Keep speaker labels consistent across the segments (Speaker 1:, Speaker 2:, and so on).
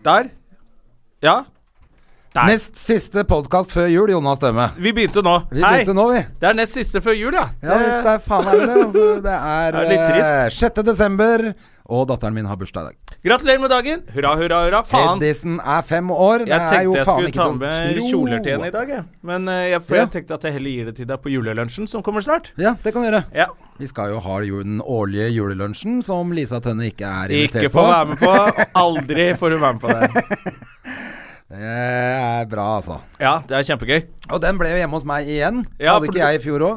Speaker 1: Der. Ja. Der.
Speaker 2: Nest siste podkast før jul, Jonas Dømme.
Speaker 1: Vi begynte nå.
Speaker 2: Vi begynte nå, vi.
Speaker 1: Det er nest siste før jul, ja.
Speaker 2: Ja, hvis det er faen er det. Altså, det er,
Speaker 1: Det er litt trist.
Speaker 2: eh, 6. desember, og datteren min har bursdag i dag.
Speaker 1: Gratulerer med dagen. Hurra, hurra, hurra. Faen.
Speaker 2: Hedisen er fem år. Det
Speaker 1: Jeg
Speaker 2: er jo
Speaker 1: tenkte jeg
Speaker 2: faen
Speaker 1: skulle
Speaker 2: ikke
Speaker 1: ta
Speaker 2: til å
Speaker 1: med
Speaker 2: tro.
Speaker 1: kjoler til henne i dag, jeg. Men eh, jeg, for
Speaker 2: Ja.
Speaker 1: jeg tenkte at jeg heller gir det til deg på julelunsjen, som kommer snart.
Speaker 2: Ja, det kan du gjøre.
Speaker 1: Ja.
Speaker 2: Vi skal jo ha jo den årlige julelunsjen, som Lisa Tønne ikke er invitert
Speaker 1: Ikke få være med på. og Aldri får hun være med på det.
Speaker 2: Det er bra, altså.
Speaker 1: Ja, det er kjempegøy.
Speaker 2: Og den ble jo hjemme hos meg igjen.
Speaker 1: Ja,
Speaker 2: Hadde
Speaker 1: for
Speaker 2: ikke
Speaker 1: du-
Speaker 2: jeg i fjor òg.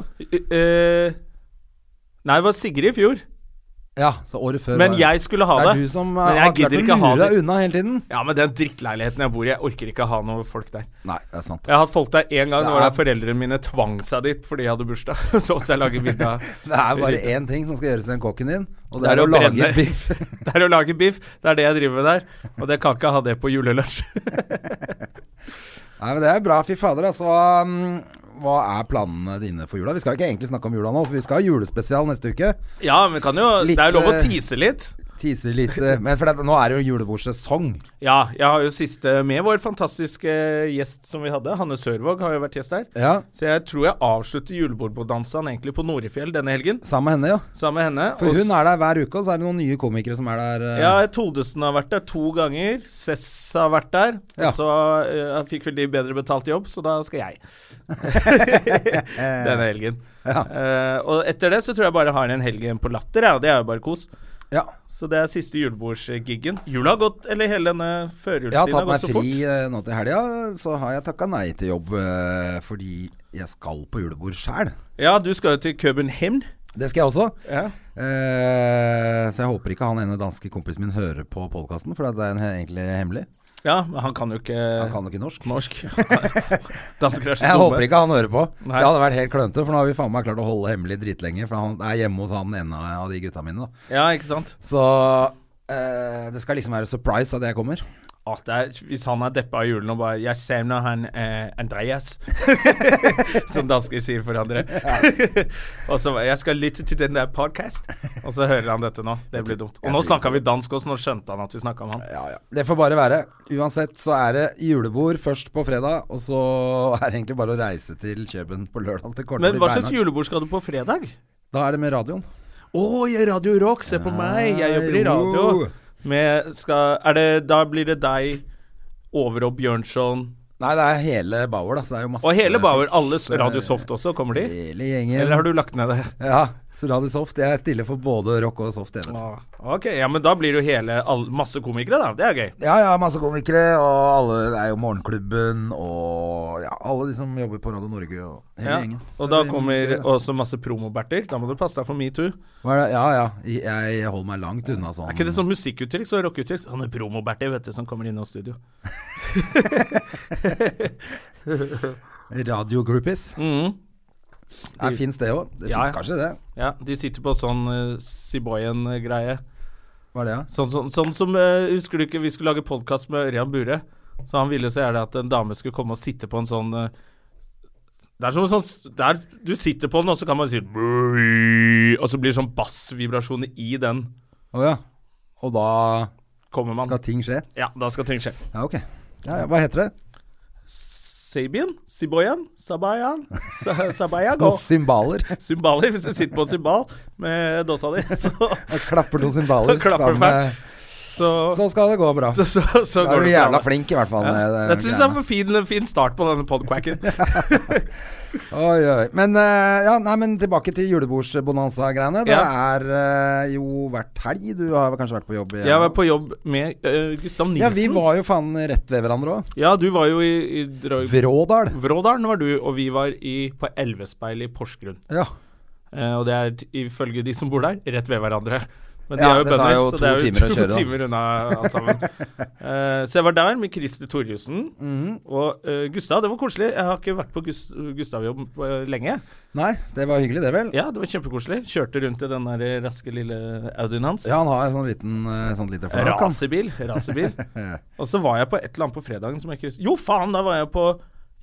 Speaker 1: Eh, nei, det var Sigrid i fjor.
Speaker 2: Ja, så året før.
Speaker 1: Men
Speaker 2: var-
Speaker 1: jeg skulle ha
Speaker 2: det
Speaker 1: det.
Speaker 2: er du som eh,
Speaker 1: Men
Speaker 2: har
Speaker 1: jeg
Speaker 2: klart
Speaker 1: gidder
Speaker 2: å
Speaker 1: ikke ha
Speaker 2: lure
Speaker 1: det.
Speaker 2: deg unna hele tiden.
Speaker 1: Ja, men den drittleiligheten jeg bor i, jeg orker ikke ha noen folk der.
Speaker 2: Nei, det er sant.
Speaker 1: Jeg har hatt folk der én gang
Speaker 2: Det
Speaker 1: når da
Speaker 2: er-
Speaker 1: foreldrene mine tvang seg dit fordi jeg hadde bursdag. Så måtte jeg lage middag.
Speaker 2: Det er bare én ting som skal gjøres til den kokken din, og det,
Speaker 1: Det er
Speaker 2: er,
Speaker 1: å
Speaker 2: å lage
Speaker 1: brenne.
Speaker 2: biff.
Speaker 1: Det er å lage biff. Det er det jeg driver med der. Og det kan ikke ha det på julelunsj.
Speaker 2: Nei, men det er bra. Fy fader, altså. um, Hva er planene dine for jula? Vi skal ikke egentlig snakke om jula nå, for vi skal ha julespesial neste uke.
Speaker 1: Ja, men kan jo
Speaker 2: Litt,
Speaker 1: Det er jo lov å
Speaker 2: eh,
Speaker 1: tise litt.
Speaker 2: Teaser litt. eh, Men for det, nå er det jo julebordsesong.
Speaker 1: Ja, jeg har jo siste med vår fantastiske gjest som vi hadde. Hanne Sørvåg har jo vært gjest der.
Speaker 2: Ja.
Speaker 1: Så jeg tror jeg avslutter juleborddansen egentlig på Norefjell denne helgen.
Speaker 2: Sammen med henne, jo.
Speaker 1: Sammen med henne.
Speaker 2: For
Speaker 1: Og
Speaker 2: hun er der hver uke, og så er det noen nye komikere som er der. eh.
Speaker 1: Ja, Todesen har vært der to ganger. Cess har vært der.
Speaker 2: Ja.
Speaker 1: Og så eh, fikk vel de bedre betalt jobb, så da skal jeg. Denne helgen.
Speaker 2: Ja.
Speaker 1: Eh, og etter det så tror jeg bare har en helg igjen på Latter, jeg, og det er jo bare kos.
Speaker 2: ja.
Speaker 1: Så det er siste julebordsgiggen. Jula har gått, eller hele denne
Speaker 2: Jeg har
Speaker 1: førjulstiden har
Speaker 2: tatt meg
Speaker 1: gått så fort.
Speaker 2: fri eh, nå til helga, så har jeg takka nei til jobb eh, fordi jeg skal på julebord sjæl.
Speaker 1: Ja, du skal jo til København.
Speaker 2: Det skal jeg også.
Speaker 1: Ja.
Speaker 2: Eh, så jeg håper ikke han ene danske kompisen min hører på podkasten, for det er en he- egentlig hemmelig.
Speaker 1: ja, men han kan jo ikke
Speaker 2: Han kan jo ikke norsk.
Speaker 1: norsk. Dansker er så
Speaker 2: Jeg
Speaker 1: dumme.
Speaker 2: håper ikke han hører på.
Speaker 1: Nei.
Speaker 2: Det hadde vært helt klønete, for nå har vi faen meg klart å holde hemmelig dritlenge. For han er hjemme hos han ene av de gutta mine, da.
Speaker 1: Ja, ikke sant.
Speaker 2: Så eh, det skal liksom være surprise at jeg kommer.
Speaker 1: Å, det er, hvis han er deppa av julen og bare 'Jeg savner han eh, Andreas', som dansker sier for andre. og så bare, 'Jeg skal lytte til den der podcast', og så hører han dette nå. Det blir dumt. Og nå snakka vi dansk også, nå skjønte han at vi snakka om han.
Speaker 2: Ja, ja. Det får bare være. Uansett så er det julebord først på fredag, og så er det egentlig bare å reise til Kjøben på lørdag. Det kommer til
Speaker 1: Men
Speaker 2: å
Speaker 1: hva
Speaker 2: bli
Speaker 1: slags
Speaker 2: beinhardt.
Speaker 1: julebord skal du på fredag?
Speaker 2: Da er det med radioen.
Speaker 1: Å, jeg er Radio Rock, se på meg! Jeg jobber i
Speaker 2: jo.
Speaker 1: radio. Med skal Er det Da blir det deg, Over og Bjørnson
Speaker 2: Nei, det er hele Bauer, da. Så det er jo masse
Speaker 1: Og hele Bauer. Alle s- Radio Soft også, kommer de?
Speaker 2: Hele gjengen.
Speaker 1: Eller har du lagt ned det?
Speaker 2: Ja, så Radio Soft. Jeg stiller for både rock og soft, jeg vet.
Speaker 1: Ah, Ok, ja, men da blir det jo hele all, Masse komikere, da. Det er gøy.
Speaker 2: Ja, ja, masse komikere, og alle det er jo Morgenklubben, og ja, alle de som jobber på Radio Norge, og hele
Speaker 1: Ja.
Speaker 2: gjengen. Så
Speaker 1: Og da
Speaker 2: det blir
Speaker 1: kommer
Speaker 2: mye gøy, da.
Speaker 1: også masse promoberter. Da må du passe deg for metoo.
Speaker 2: Hva er det? Ja, ja, jeg jeg holder meg langt unna sånn.
Speaker 1: Er ikke det sånn musikkuttrykk? Så rockeuttrykk? Sånne promoberter, vet du, som kommer innom studio.
Speaker 2: Radio groupies.
Speaker 1: Mhm.
Speaker 2: Nei, fins det òg? Det
Speaker 1: Ja,
Speaker 2: fins
Speaker 1: ja.
Speaker 2: kanskje det.
Speaker 1: Ja, de sitter på sånn uh, Siboyen-greie.
Speaker 2: Hva er det, da?
Speaker 1: Sånn, sånn, sånn som eh, Husker du ikke vi skulle lage podkast med Ørjan Bure? Så han ville så gjerne at en dame skulle komme og sitte på en sånn eh, Det er som en sånn s- det er, Du sitter på den, og så kan man si Og så blir det sånn bassvibrasjoner i den.
Speaker 2: Å ja. Og da
Speaker 1: Kommer man.
Speaker 2: skal ting skje?
Speaker 1: Ja, da skal ting skje.
Speaker 2: Ja, ok. Ja, ja. Hva heter det?
Speaker 1: Sabian? Siboyan? Sabayan? Sa- Sabayago?
Speaker 2: Og cymbaler.
Speaker 1: Cymbaler. Hvis du sitter på en cymbal med dåsa di, så,
Speaker 2: Jeg Klapper to cymbaler
Speaker 1: Klapper
Speaker 2: sammen med
Speaker 1: så, så,
Speaker 2: Så skal det gå bra.
Speaker 1: så, så,
Speaker 2: Da
Speaker 1: går
Speaker 2: er du
Speaker 1: det
Speaker 2: jævla
Speaker 1: bra.
Speaker 2: flink, i hvert fall. med
Speaker 1: Ja.
Speaker 2: det
Speaker 1: Dette syns jeg
Speaker 2: greiene.
Speaker 1: var en fin, fin start på denne podquacken.
Speaker 2: Oi, oi. Men, eh, ja, nei, men tilbake til julebordsbonanza-greiene. Det
Speaker 1: Ja.
Speaker 2: er eh, jo hvert helg. Du har vel kanskje vært på jobb? igjen?
Speaker 1: Jeg var på jobb med eh, Gustav Nilsen.
Speaker 2: Ja, vi var jo faen rett ved hverandre òg.
Speaker 1: Ja, du var jo i, i Dra-
Speaker 2: Vrådal.
Speaker 1: Vrådalen var du, og vi var i, på Elvespeilet i Porsgrunn.
Speaker 2: Ja.
Speaker 1: Eh, og det er t- ifølge de som bor der, rett ved hverandre. Men de
Speaker 2: Ja,
Speaker 1: er jo
Speaker 2: det tar
Speaker 1: bønder,
Speaker 2: jo
Speaker 1: så
Speaker 2: to
Speaker 1: det er jo
Speaker 2: timer å
Speaker 1: to
Speaker 2: kjøre, da.
Speaker 1: timer unna alt sammen. Eh, så jeg var der med Christer Thorjussen
Speaker 2: Mhm.
Speaker 1: og eh, Gustav. Det var koselig. Jeg har ikke vært på Gus Gustav-jobb eh, lenge.
Speaker 2: Nei, det var hyggelig, det vel?
Speaker 1: Ja, det var kjempekoselig. Kjørte rundt i den der raske lille Audien hans.
Speaker 2: Ja, han har en sånn liten eh, sånn lite flak, han.
Speaker 1: Rasebil. Rasebil. og så var jeg på et eller annet på fredagen som jeg ikke husker Jo, faen! Da var jeg på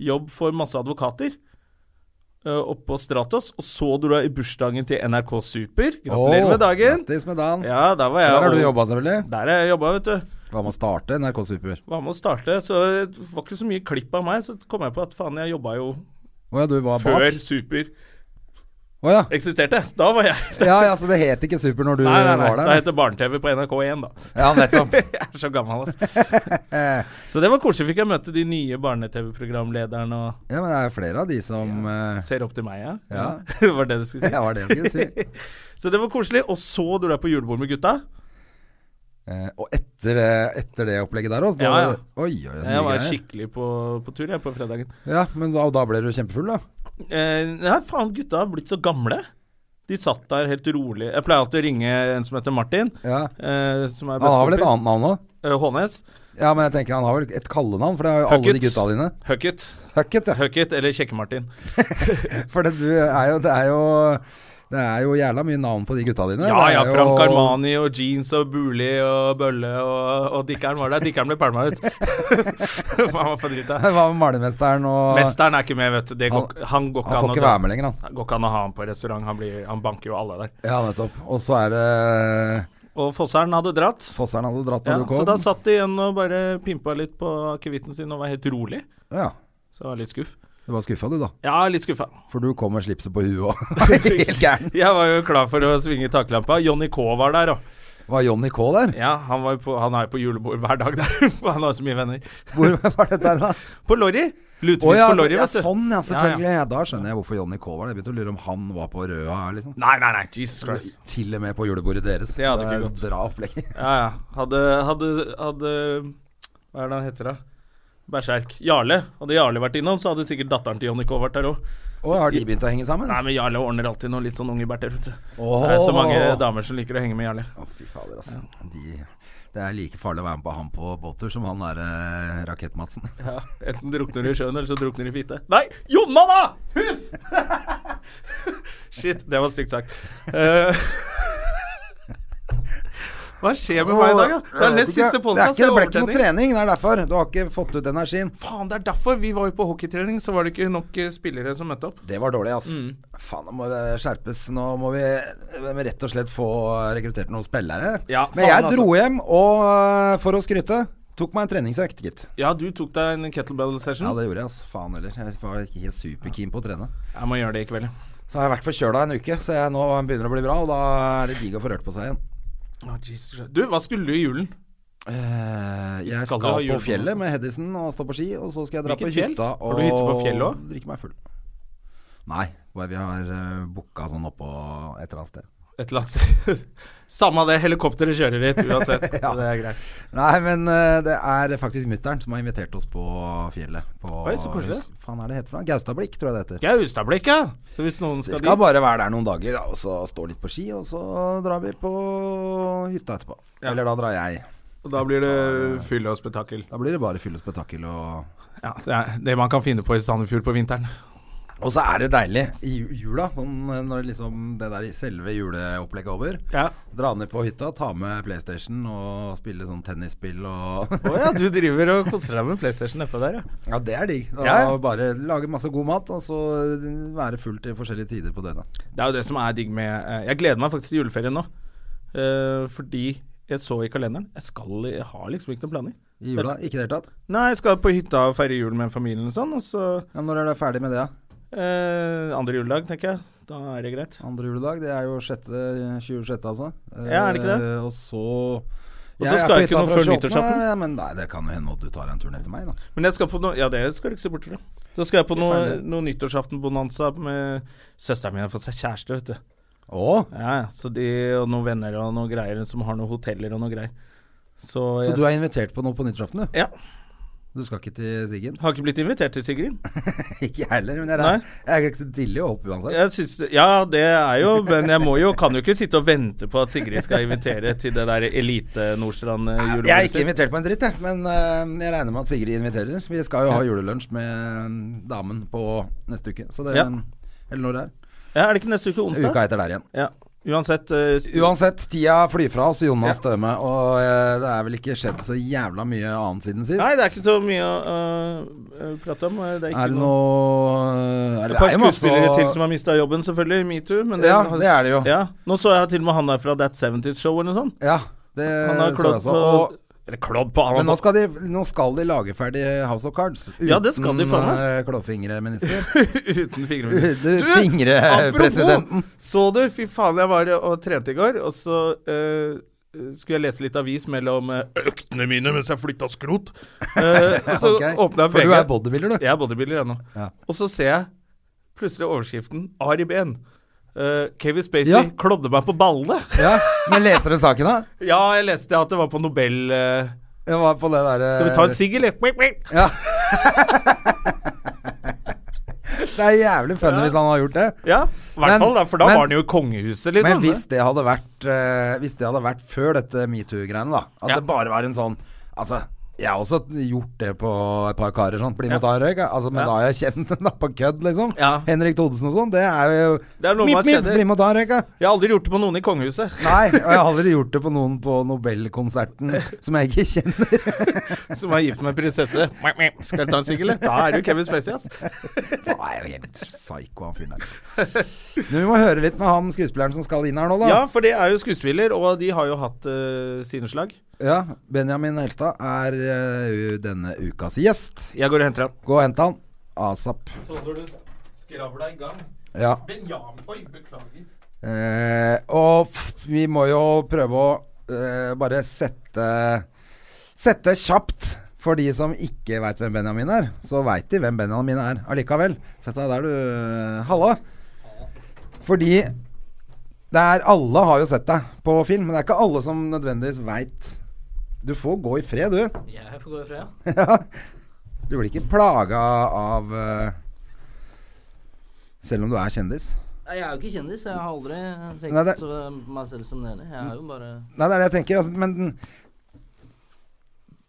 Speaker 1: jobb for masse advokater. eh, Oppe på Stratos. Og så dro jeg i bursdagen til NRK Super. Gratulerer
Speaker 2: Åh,
Speaker 1: med dagen!
Speaker 2: Grattis med dagen.
Speaker 1: Ja, der var jeg.
Speaker 2: Der har du
Speaker 1: og-
Speaker 2: jobba, selvfølgelig.
Speaker 1: Der har jeg jobba, vet du.
Speaker 2: Hva med å starte NRK Super?
Speaker 1: Var med å starte, så det var ikke så mye klipp av meg. Så kom jeg på at faen, jeg jobba jo
Speaker 2: Å ja, du var
Speaker 1: før
Speaker 2: bak?
Speaker 1: Super
Speaker 2: Å ja.
Speaker 1: eksisterte. Da var jeg
Speaker 2: ja. Ja, så det het ikke Super når du
Speaker 1: Nei, nei, nei.
Speaker 2: var
Speaker 1: Da
Speaker 2: der?
Speaker 1: heter Barne-TV på NRK1, da.
Speaker 2: Ja, nettopp.
Speaker 1: Jeg er så gammel, altså. Så det var koselig. Fikk jeg møte de nye barne-TV-programlederne og
Speaker 2: Ja, men det er flere av de som eh,
Speaker 1: ser opp til meg, ja.
Speaker 2: Ja.
Speaker 1: Det var det du skulle si.
Speaker 2: Ja, var det jeg skulle si.
Speaker 1: Så det var koselig. Og så dro jeg på julebord med gutta.
Speaker 2: Eh, og etter, eh, etter det opplegget der også? da-
Speaker 1: Ja, ja.
Speaker 2: Oi, oi, oi,
Speaker 1: Jeg
Speaker 2: nye
Speaker 1: var
Speaker 2: greier.
Speaker 1: skikkelig på, på tur, jeg, på fredagen.
Speaker 2: Ja, men da, og da ble du kjempefull, da?
Speaker 1: Eh, nei, faen, gutta har blitt så gamle. De satt der helt rolig. Jeg pleier alltid å ringe en som heter Martin.
Speaker 2: Ja.
Speaker 1: Eh, som er
Speaker 2: Han har vel et
Speaker 1: bestekompis.
Speaker 2: annet navn òg?
Speaker 1: Eh, Hånes.
Speaker 2: Ja, men jeg tenker han har vel et kallenavn, for det har jo alle de
Speaker 1: Hucket.
Speaker 2: gutta dine.
Speaker 1: Hucket.
Speaker 2: Hucket, ja.
Speaker 1: Hucket eller Kjekke-Martin.
Speaker 2: For det, du er jo, det er jo Det er jo jævla mye navn på de gutta dine.
Speaker 1: Ja
Speaker 2: Det er
Speaker 1: ja,
Speaker 2: jo-
Speaker 1: Frank Armani og jeans og Buli og bølle og, og Dikkeren var der. Dikkeren ble pælma ut. Han var for drita.
Speaker 2: Hva med malermesteren og
Speaker 1: Mesteren er ikke med, vet du. Det går,
Speaker 2: Han-
Speaker 1: han går ikke
Speaker 2: Han får
Speaker 1: an å
Speaker 2: ikke
Speaker 1: dra-
Speaker 2: være med lenger, han.
Speaker 1: Det går ikke an å ha han på restaurant. Han, blir, han banker jo alle der.
Speaker 2: Ja, nettopp. Og så er det
Speaker 1: Og Fosseren hadde dratt.
Speaker 2: Fosseren hadde dratt når
Speaker 1: Ja,
Speaker 2: du kom.
Speaker 1: så da satt de igjen og bare pimpa litt på akevitten sin og var helt rolig.
Speaker 2: Ja.
Speaker 1: Så jeg var litt skuff.
Speaker 2: Du var skuffa, du, da.
Speaker 1: Ja, litt skuffa.
Speaker 2: For du kom med slipset på huet òg. Helt gæren.
Speaker 1: Jeg var jo klar for å svinge taklampa. Johnny K var der òg.
Speaker 2: Var Johnny K der?
Speaker 1: Ja, han, var jo på, han er jo på julebord hver dag der. for han har så mye venner.
Speaker 2: Hvor var det der, da?
Speaker 1: På Lorry! Lutefisk
Speaker 2: Å ja,
Speaker 1: på Lorry,
Speaker 2: ja,
Speaker 1: vet du.
Speaker 2: sånn ja, selvfølgelig.
Speaker 1: Ja,
Speaker 2: Ja, Da skjønner jeg hvorfor Johnny K var der. Jeg begynte å lure om han var på Røa her, liksom.
Speaker 1: Nei, nei, nei. Jesus Christ.
Speaker 2: Til og med på julebordet deres.
Speaker 1: Det hadde
Speaker 2: er
Speaker 1: ikke gått.
Speaker 2: Bra opplegg.
Speaker 1: Ja, ja. Hadde, hadde, hadde Hva er det han heter, da? Berserk. Jarle. Hadde Jarle vært innom, så hadde sikkert datteren til Johnny K vært der òg.
Speaker 2: Og har de begynt å henge sammen?
Speaker 1: Nei, men Jarle ordner alltid noe litt sånn unge bærter, vet du.
Speaker 2: Åh.
Speaker 1: Det er så mange damer som liker å henge med Jarle.
Speaker 2: Å, fy fader, altså. De, det er like farlig å være med på han på båttur som han derre eh, Rakett-Madsen.
Speaker 1: Ja, Enten drukner du i sjøen, eller så drukner du i fitte. Nei, Jonna, da! Huff! Shit, det var stygt sagt. Eh, Hva skjer med meg i dag, da? Det er nest siste podkast.
Speaker 2: Det, er ikke- det ble ikke noe trening, det er derfor. Du har ikke fått ut energien.
Speaker 1: Faen, det er derfor vi var jo på hockeytrening, så var det ikke nok eh, spillere som møtte opp.
Speaker 2: Det var dårlig, altså.
Speaker 1: Mm.
Speaker 2: Faen, nå må det skjerpes. Nå må vi vi må rett og slett få rekruttert noen spillere.
Speaker 1: Ja,
Speaker 2: Men
Speaker 1: faen,
Speaker 2: jeg
Speaker 1: altså.
Speaker 2: dro hjem, og eh, for å skryte, tok meg en treningsøkt, gitt.
Speaker 1: Ja, du tok deg en kettlebell
Speaker 2: Ja,
Speaker 1: session.
Speaker 2: det gjorde jeg, altså. Faen heller. Jeg var ikke helt superkeen på å trene.
Speaker 1: Jeg må gjøre det i kveld.
Speaker 2: Så har jeg vært forkjøla en uke, så jeg nå begynner å bli bra, og da er det digg å få rørt på seg igjen.
Speaker 1: Å, Jesus Christ. Du, hva skulle du i julen?
Speaker 2: Eh, jeg
Speaker 1: Skal
Speaker 2: skal,
Speaker 1: du ha
Speaker 2: på
Speaker 1: julebord
Speaker 2: fjellet
Speaker 1: også?
Speaker 2: med Hedison og stå på ski, og så skal jeg dra
Speaker 1: Hvilket
Speaker 2: på
Speaker 1: fjell?
Speaker 2: hytta
Speaker 1: Har
Speaker 2: og
Speaker 1: du hytte på fjellet også?
Speaker 2: drikke meg full. Nei, bare vi har uh, booka sånn oppå et eller annet sted.
Speaker 1: Et eller annet sted. Samme det, helikopteret kjører dit uansett. så Det er greit.
Speaker 2: Nei, men eh, det er faktisk mutter'n som har invitert oss på fjellet. På,
Speaker 1: Oi, så koselig.
Speaker 2: Hva Faen er det heter for noe? Gaustablikk, tror jeg det heter.
Speaker 1: Gaustablikk, ja. Så hvis noen
Speaker 2: Vi
Speaker 1: skal,
Speaker 2: skal
Speaker 1: dit
Speaker 2: bare være der noen dager, da, og så stå litt på ski, og så drar vi på hytta etterpå.
Speaker 1: Ja.
Speaker 2: Eller da drar jeg.
Speaker 1: Og da blir det fyll og spetakkel.
Speaker 2: Da blir det bare fyll og spetakkel og
Speaker 1: Ja, det er det man kan finne på i Sandefjord på vinteren.
Speaker 2: Og så er det deilig i ju- jula, sånn eh, når liksom det der selve juleopplegget er over.
Speaker 1: Ja.
Speaker 2: Dra ned på hytta, ta med PlayStation og spille sånn tennisspill og
Speaker 1: Å ja, du driver og koser deg med PlayStation nedpå der, ja.
Speaker 2: Ja, det er digg. Da
Speaker 1: Ja, ja.
Speaker 2: Bare lage masse god mat, og så være full til forskjellige tider på døgnet.
Speaker 1: Det er jo det som er digg med eh, Jeg gleder meg faktisk til juleferien nå. Eh, fordi jeg så i kalenderen Jeg skal Jeg har liksom ikke noen planer.
Speaker 2: I jula, ikke i det hele tatt.
Speaker 1: Nei, jeg skal på hytta og feire jul med familien og sånn, og så
Speaker 2: Ja, når er du ferdig med det, da?
Speaker 1: eh, Andre juledag, tenker jeg. Da er det greit.
Speaker 2: Andre juledag? Det er jo sjette, 26., altså.
Speaker 1: Ja, er det ikke det?
Speaker 2: Eh, Og så
Speaker 1: Og så skal jeg ikke noe før nyttårsaften.
Speaker 2: Ja, men nei, det kan jo hende at du tar en tur ned til meg, da.
Speaker 1: Men jeg skal på noe Ja, det skal du ikke se bort fra. Så skal jeg på noe, noe nyttårsaftenbonanza med søsteren min har fått seg kjæreste, vet du.
Speaker 2: Å?
Speaker 1: Ja, ja. Så de og noen venner og noen greier som har noen hoteller og noe greier. Så,
Speaker 2: Så du er invitert på noe på nyttårsaften, du?
Speaker 1: Ja.
Speaker 2: Du skal ikke til Siggen?
Speaker 1: Har ikke blitt invitert til Sigrid.
Speaker 2: ikke jeg heller, men jeg,
Speaker 1: Nei.
Speaker 2: jeg er ikke så tidlig å hoppe uansett.
Speaker 1: Jeg syns, ja, det er jo Men jeg må jo, kan jo ikke sitte og vente på at Sigrid skal invitere til det der Elite eh, Nordstrand-julebordet
Speaker 2: Jeg er ikke invitert på en dritt, jeg. Men eh, jeg regner med at Sigrid inviterer. Vi skal jo ha julelunsj med eh, damen på neste uke. Så det
Speaker 1: Ja.
Speaker 2: Eller når det er.
Speaker 1: Ja, er det ikke neste uke onsdag?
Speaker 2: Uka etter der igjen.
Speaker 1: Ja. Uansett, eh, s-
Speaker 2: Uansett, tida flyr fra oss, Jonas
Speaker 1: Ja.
Speaker 2: Støme. Og eh, det er vel ikke skjedd så jævla mye annet siden sist.
Speaker 1: Nei, det er ikke så mye å øh, prate om. Det er, ikke
Speaker 2: Er det
Speaker 1: noe-
Speaker 2: noe
Speaker 1: Et par
Speaker 2: altså-
Speaker 1: skuespillere til som har mista jobben, selvfølgelig. Metoo. Men det,
Speaker 2: Ja, det er det jo.
Speaker 1: Ja. Nå så jeg til og med han der fra That 70's Show eller noe sånt.
Speaker 2: Ja, det
Speaker 1: Han
Speaker 2: Eh,
Speaker 1: har
Speaker 2: så
Speaker 1: klådd
Speaker 2: jeg
Speaker 1: på
Speaker 2: så. Og,
Speaker 1: Eller klådd på han har
Speaker 2: men nå
Speaker 1: fått-
Speaker 2: skal, de, nå skal de lage ferdig House of Cards.
Speaker 1: Ja, det skal de, faen meg.
Speaker 2: eh, klåfingerminister.
Speaker 1: Uten fingre.
Speaker 2: Du, eh, fingrepresidenten.
Speaker 1: Så du, fy faen, jeg var og trente i går, og så eh, skulle jeg lese litt avis mellom eh, øktene mine mens jeg flytta skrot. Eh, og så
Speaker 2: Ok.
Speaker 1: åpna jeg
Speaker 2: For du
Speaker 1: VG.
Speaker 2: er bodybuilder, du.
Speaker 1: Jeg er bodybuilder ennå.
Speaker 2: Ja.
Speaker 1: Og så ser jeg plutselig overskriften Ari Behn. Uh, Kevin Spacey
Speaker 2: Ja.
Speaker 1: klådde meg på ballene.
Speaker 2: Ja, Men leser du saken, da?
Speaker 1: ja, jeg leste at det var på Nobel eh,
Speaker 2: Jeg var på det der, eh,
Speaker 1: Skal vi ta en sigg, eller? Wink, wink.
Speaker 2: Ja. det er jævlig funny hvis han har gjort det.
Speaker 1: Ja, i hvert
Speaker 2: Men-
Speaker 1: fall, da, for da
Speaker 2: men-
Speaker 1: var han jo i kongehuset, liksom.
Speaker 2: Men hvis det hadde vært eh, Hvis det hadde vært før dette metoo-greiene, da At
Speaker 1: Ja.
Speaker 2: det bare var en sånn Altså, jeg har også gjort det på et par karer sånn. Bli med
Speaker 1: Ja.
Speaker 2: og ta en røyk. ja. Altså, men
Speaker 1: Ja.
Speaker 2: da har jeg kjent den da på kødd, liksom.
Speaker 1: Ja.
Speaker 2: Henrik Thodesen og sånn. Det er jo
Speaker 1: Det er noe man kjenner.
Speaker 2: bli med og ta en røyk, ja.
Speaker 1: Jeg har aldri gjort det på noen i kongehuset.
Speaker 2: Nei, og jeg har aldri gjort det på noen på Nobelkonserten som jeg ikke kjenner.
Speaker 1: Som er gift med en prinsesse. Wink, wink. Skal vi ta en sigg, eller? Da er det jo Kevin Spacey, ass.
Speaker 2: Han er jo helt psyko, han fyren der. Men vi må høre litt med han skuespilleren som skal inn her nå, da.
Speaker 1: Ja, for det er jo skuespiller, og de har jo hatt eh, sine slag.
Speaker 2: Ja, Benjamin Helstad er eh, denne ukas gjest.
Speaker 1: Jeg går og henter han.
Speaker 2: Gå og hent han. Asap.
Speaker 1: Så når du skravla i gang
Speaker 2: Ja.
Speaker 1: Benjamin, oi, beklager.
Speaker 2: Eh, og f- vi må jo prøve å eh, bare sette Sette kjapt. For de som ikke veit hvem Benjamin er, så veit de hvem Benjamin er allikevel. Sett deg der, du. Halla. Fordi det er Alle har jo sett deg på film, men det er ikke alle som nødvendigvis veit Du får gå i fred, du.
Speaker 3: Jeg får gå ifra, ja.
Speaker 2: Ja. Du blir ikke plaga av eh, Selv om du er kjendis.
Speaker 3: Nei, Jeg er jo ikke kjendis, så jeg har aldri tenkt
Speaker 2: Nei, det-
Speaker 3: så meg selv som det ene. Jeg er jo bare
Speaker 2: Nei, det er det jeg tenker. Altså, men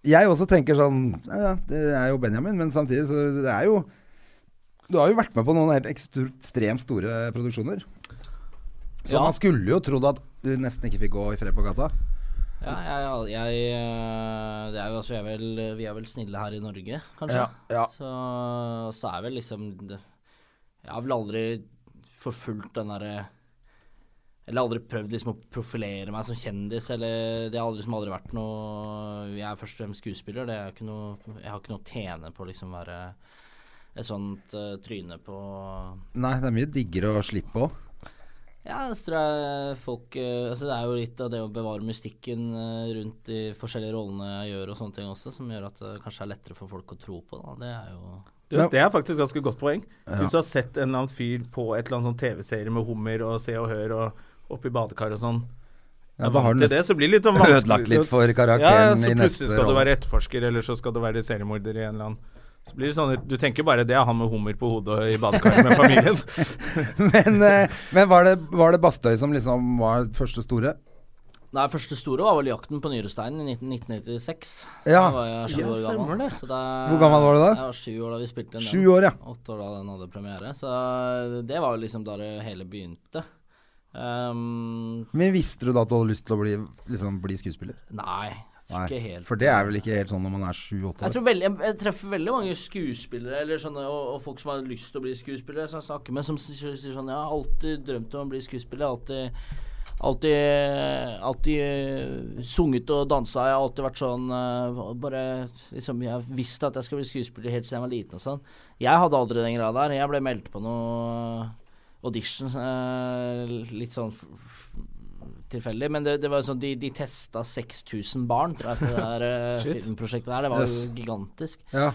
Speaker 2: jeg også tenker sånn ja, ja, Det er jo Benjamin, men samtidig så det er jo Du har jo vært med på noen helt ekstru- ekstremt store produksjoner. Så
Speaker 3: Ja.
Speaker 2: man skulle jo trodd at du nesten ikke fikk gå i fred på gata.
Speaker 3: Ja, jeg, jeg, eh, det er jo altså, jeg er vel, Vi er vel snille her i Norge, kanskje.
Speaker 2: Ja, ja.
Speaker 3: Så, så er vel liksom det- Jeg har vel aldri forfulgt den derre Eller aldri prøvd liksom å profilere meg som kjendis, eller Det har aldri, liksom aldri vært noe Jeg er først og fremst skuespiller, det er ikke noe Jeg har ikke noe å tjene på å liksom være et sånt eh, tryne på
Speaker 2: Nei, det er mye diggere å slippe òg.
Speaker 3: Ja, så tror jeg folk eh, altså Det er jo litt av det å bevare mystikken eh, rundt de forskjellige rollene jeg gjør og sånne ting også, som gjør at det kanskje er lettere for folk å tro på. da, Det er jo
Speaker 1: Du, det er faktisk ganske godt poeng. Hvis du har sett en eller annen fyr på et eller annet sånn TV-serie med hummer og Se og Hør og oppi badekar og sånn
Speaker 2: Ja,
Speaker 1: er
Speaker 2: da har
Speaker 1: vant
Speaker 2: du
Speaker 1: til det, så blir det litt sånn vanskelig.
Speaker 2: ødelagt litt for karakteren
Speaker 1: Ja, så
Speaker 2: i neste
Speaker 1: plutselig skal du
Speaker 2: rolle.
Speaker 1: være etterforsker, eller så skal du være seriemorder i en eller annen Så blir det sånn Du tenker bare det er han med hummer på hodet og i badekaret med familien.
Speaker 2: Men, eh, men var, det, var det Bastøy som liksom var det første store?
Speaker 3: Nei, første store var vel 'Jakten på nyresteinen' i 19- 1996.
Speaker 2: Ja.
Speaker 3: Da var jeg sju
Speaker 1: Ja,
Speaker 3: år gammel.
Speaker 1: stemmer det.
Speaker 3: Så da,
Speaker 2: Hvor gammel var du da?
Speaker 3: Jeg var sju år da vi spilte den.
Speaker 2: Sju år, ja.
Speaker 3: Åtte år da den hadde premiere. Så det var jo liksom da det hele begynte. Ehm,
Speaker 2: Men visste du da at du hadde lyst til å bli, liksom, bli skuespiller?
Speaker 3: nei, jeg tror ikke helt
Speaker 2: For det er vel ikke helt sånn når man er sju-åtte
Speaker 3: Jeg,
Speaker 2: år.
Speaker 3: tror veldig, jeg, jeg treffer veldig mange skuespillere eller sånne, og, og folk som har lyst til å bli skuespillere, som jeg snakker med, som s- sier sånn Jeg har alltid drømt om å bli skuespiller. Alltid, alltid, alltid eh, sunget og dansa. Jeg har alltid vært sånn eh, og Bare liksom Jeg visste at jeg skal bli skuespiller helt siden jeg var liten og sånn. Jeg hadde aldri den greia der. Jeg ble meldt på noe eh, audition eh, litt sånn f- f- tilfeldig, men det, det var jo sånn de, de testa 6000 barn, tror jeg, til det der eh,
Speaker 2: Shit.
Speaker 3: filmprosjektet der. Det var jo
Speaker 2: Yes.
Speaker 3: gigantisk.
Speaker 2: Ja.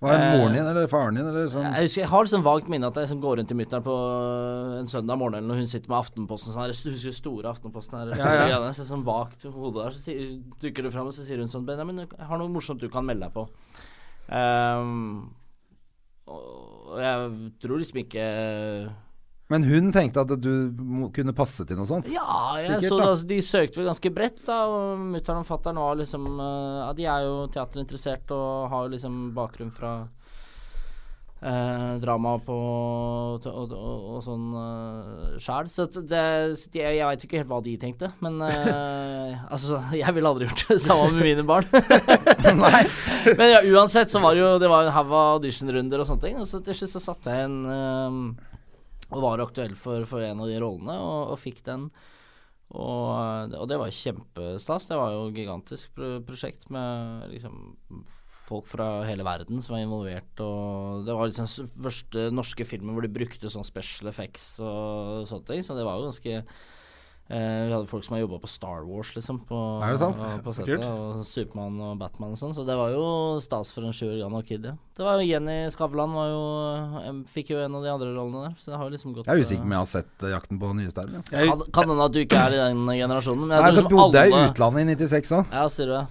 Speaker 2: Var det
Speaker 3: Eh,
Speaker 2: moren din eller faren din eller sånn?
Speaker 3: Jeg husker, jeg har liksom vagt minne at jeg liksom går rundt i mutter'n på eh, en søndag morgen eller når hun sitter med Aftenposten sånn her, jeg husker store Aftenposten her, ja, ja. Ja, så sånn vagt i hodet der, så sier, dukker det fram og så sier hun sånn Benjamin, jeg har noe morsomt du kan melde deg på. Ehm, og jeg tror liksom ikke
Speaker 2: Men hun tenkte at du må- kunne passe til noe sånt?
Speaker 3: Ja, jeg
Speaker 2: Sikkert,
Speaker 3: så
Speaker 2: da.
Speaker 3: altså, de søkte vel ganske bredt, da. Og mutter'n og fatter'n var liksom eh, Ja, de er jo teaterinteressert og har jo liksom bakgrunn fra eh, drama på og, og, og, og sånn uh, sjæl. Så at det, så de, jeg veit ikke helt hva de tenkte, men eh, altså Jeg ville aldri gjort det samme med mine barn. Men ja, uansett så var det jo Det var en haug av auditionrunder og sånne ting. Og så til slutt så satte jeg en ehm, Og var aktuell for, for en av de rollene, og, og fikk den. Og, og det var kjempestas. Det var jo et gigantisk pro prosjekt med liksom folk fra hele verden som var involvert. Og det var liksom s- første norske filmen hvor de brukte sånn special effects og sånne ting. Så det var jo ganske eh, Vi hadde folk som har jobba på Star Wars, liksom. På,
Speaker 2: Er det sant?
Speaker 3: og- På
Speaker 1: Så
Speaker 3: settet,
Speaker 1: kult.
Speaker 3: og Supermann og Batman og sånn. Så det var jo stas for en sju år gammel kid, ja. Det var jo Jenny Skavlan var jo em, Fikk jo en av de andre rollene der, så det har jo liksom
Speaker 2: Jeg
Speaker 3: gått
Speaker 2: er usikker på om jeg har sett eh, 'Jakten på nyesteinen'. Altså.
Speaker 1: Jeg,
Speaker 3: Kan- Kan hende at du ikke er i den generasjonen, men jeg
Speaker 2: Nei,
Speaker 3: tror
Speaker 2: så
Speaker 3: liksom
Speaker 2: bodde jeg i
Speaker 3: alle-
Speaker 2: utlandet i 96 òg.
Speaker 3: Ja, sier du det.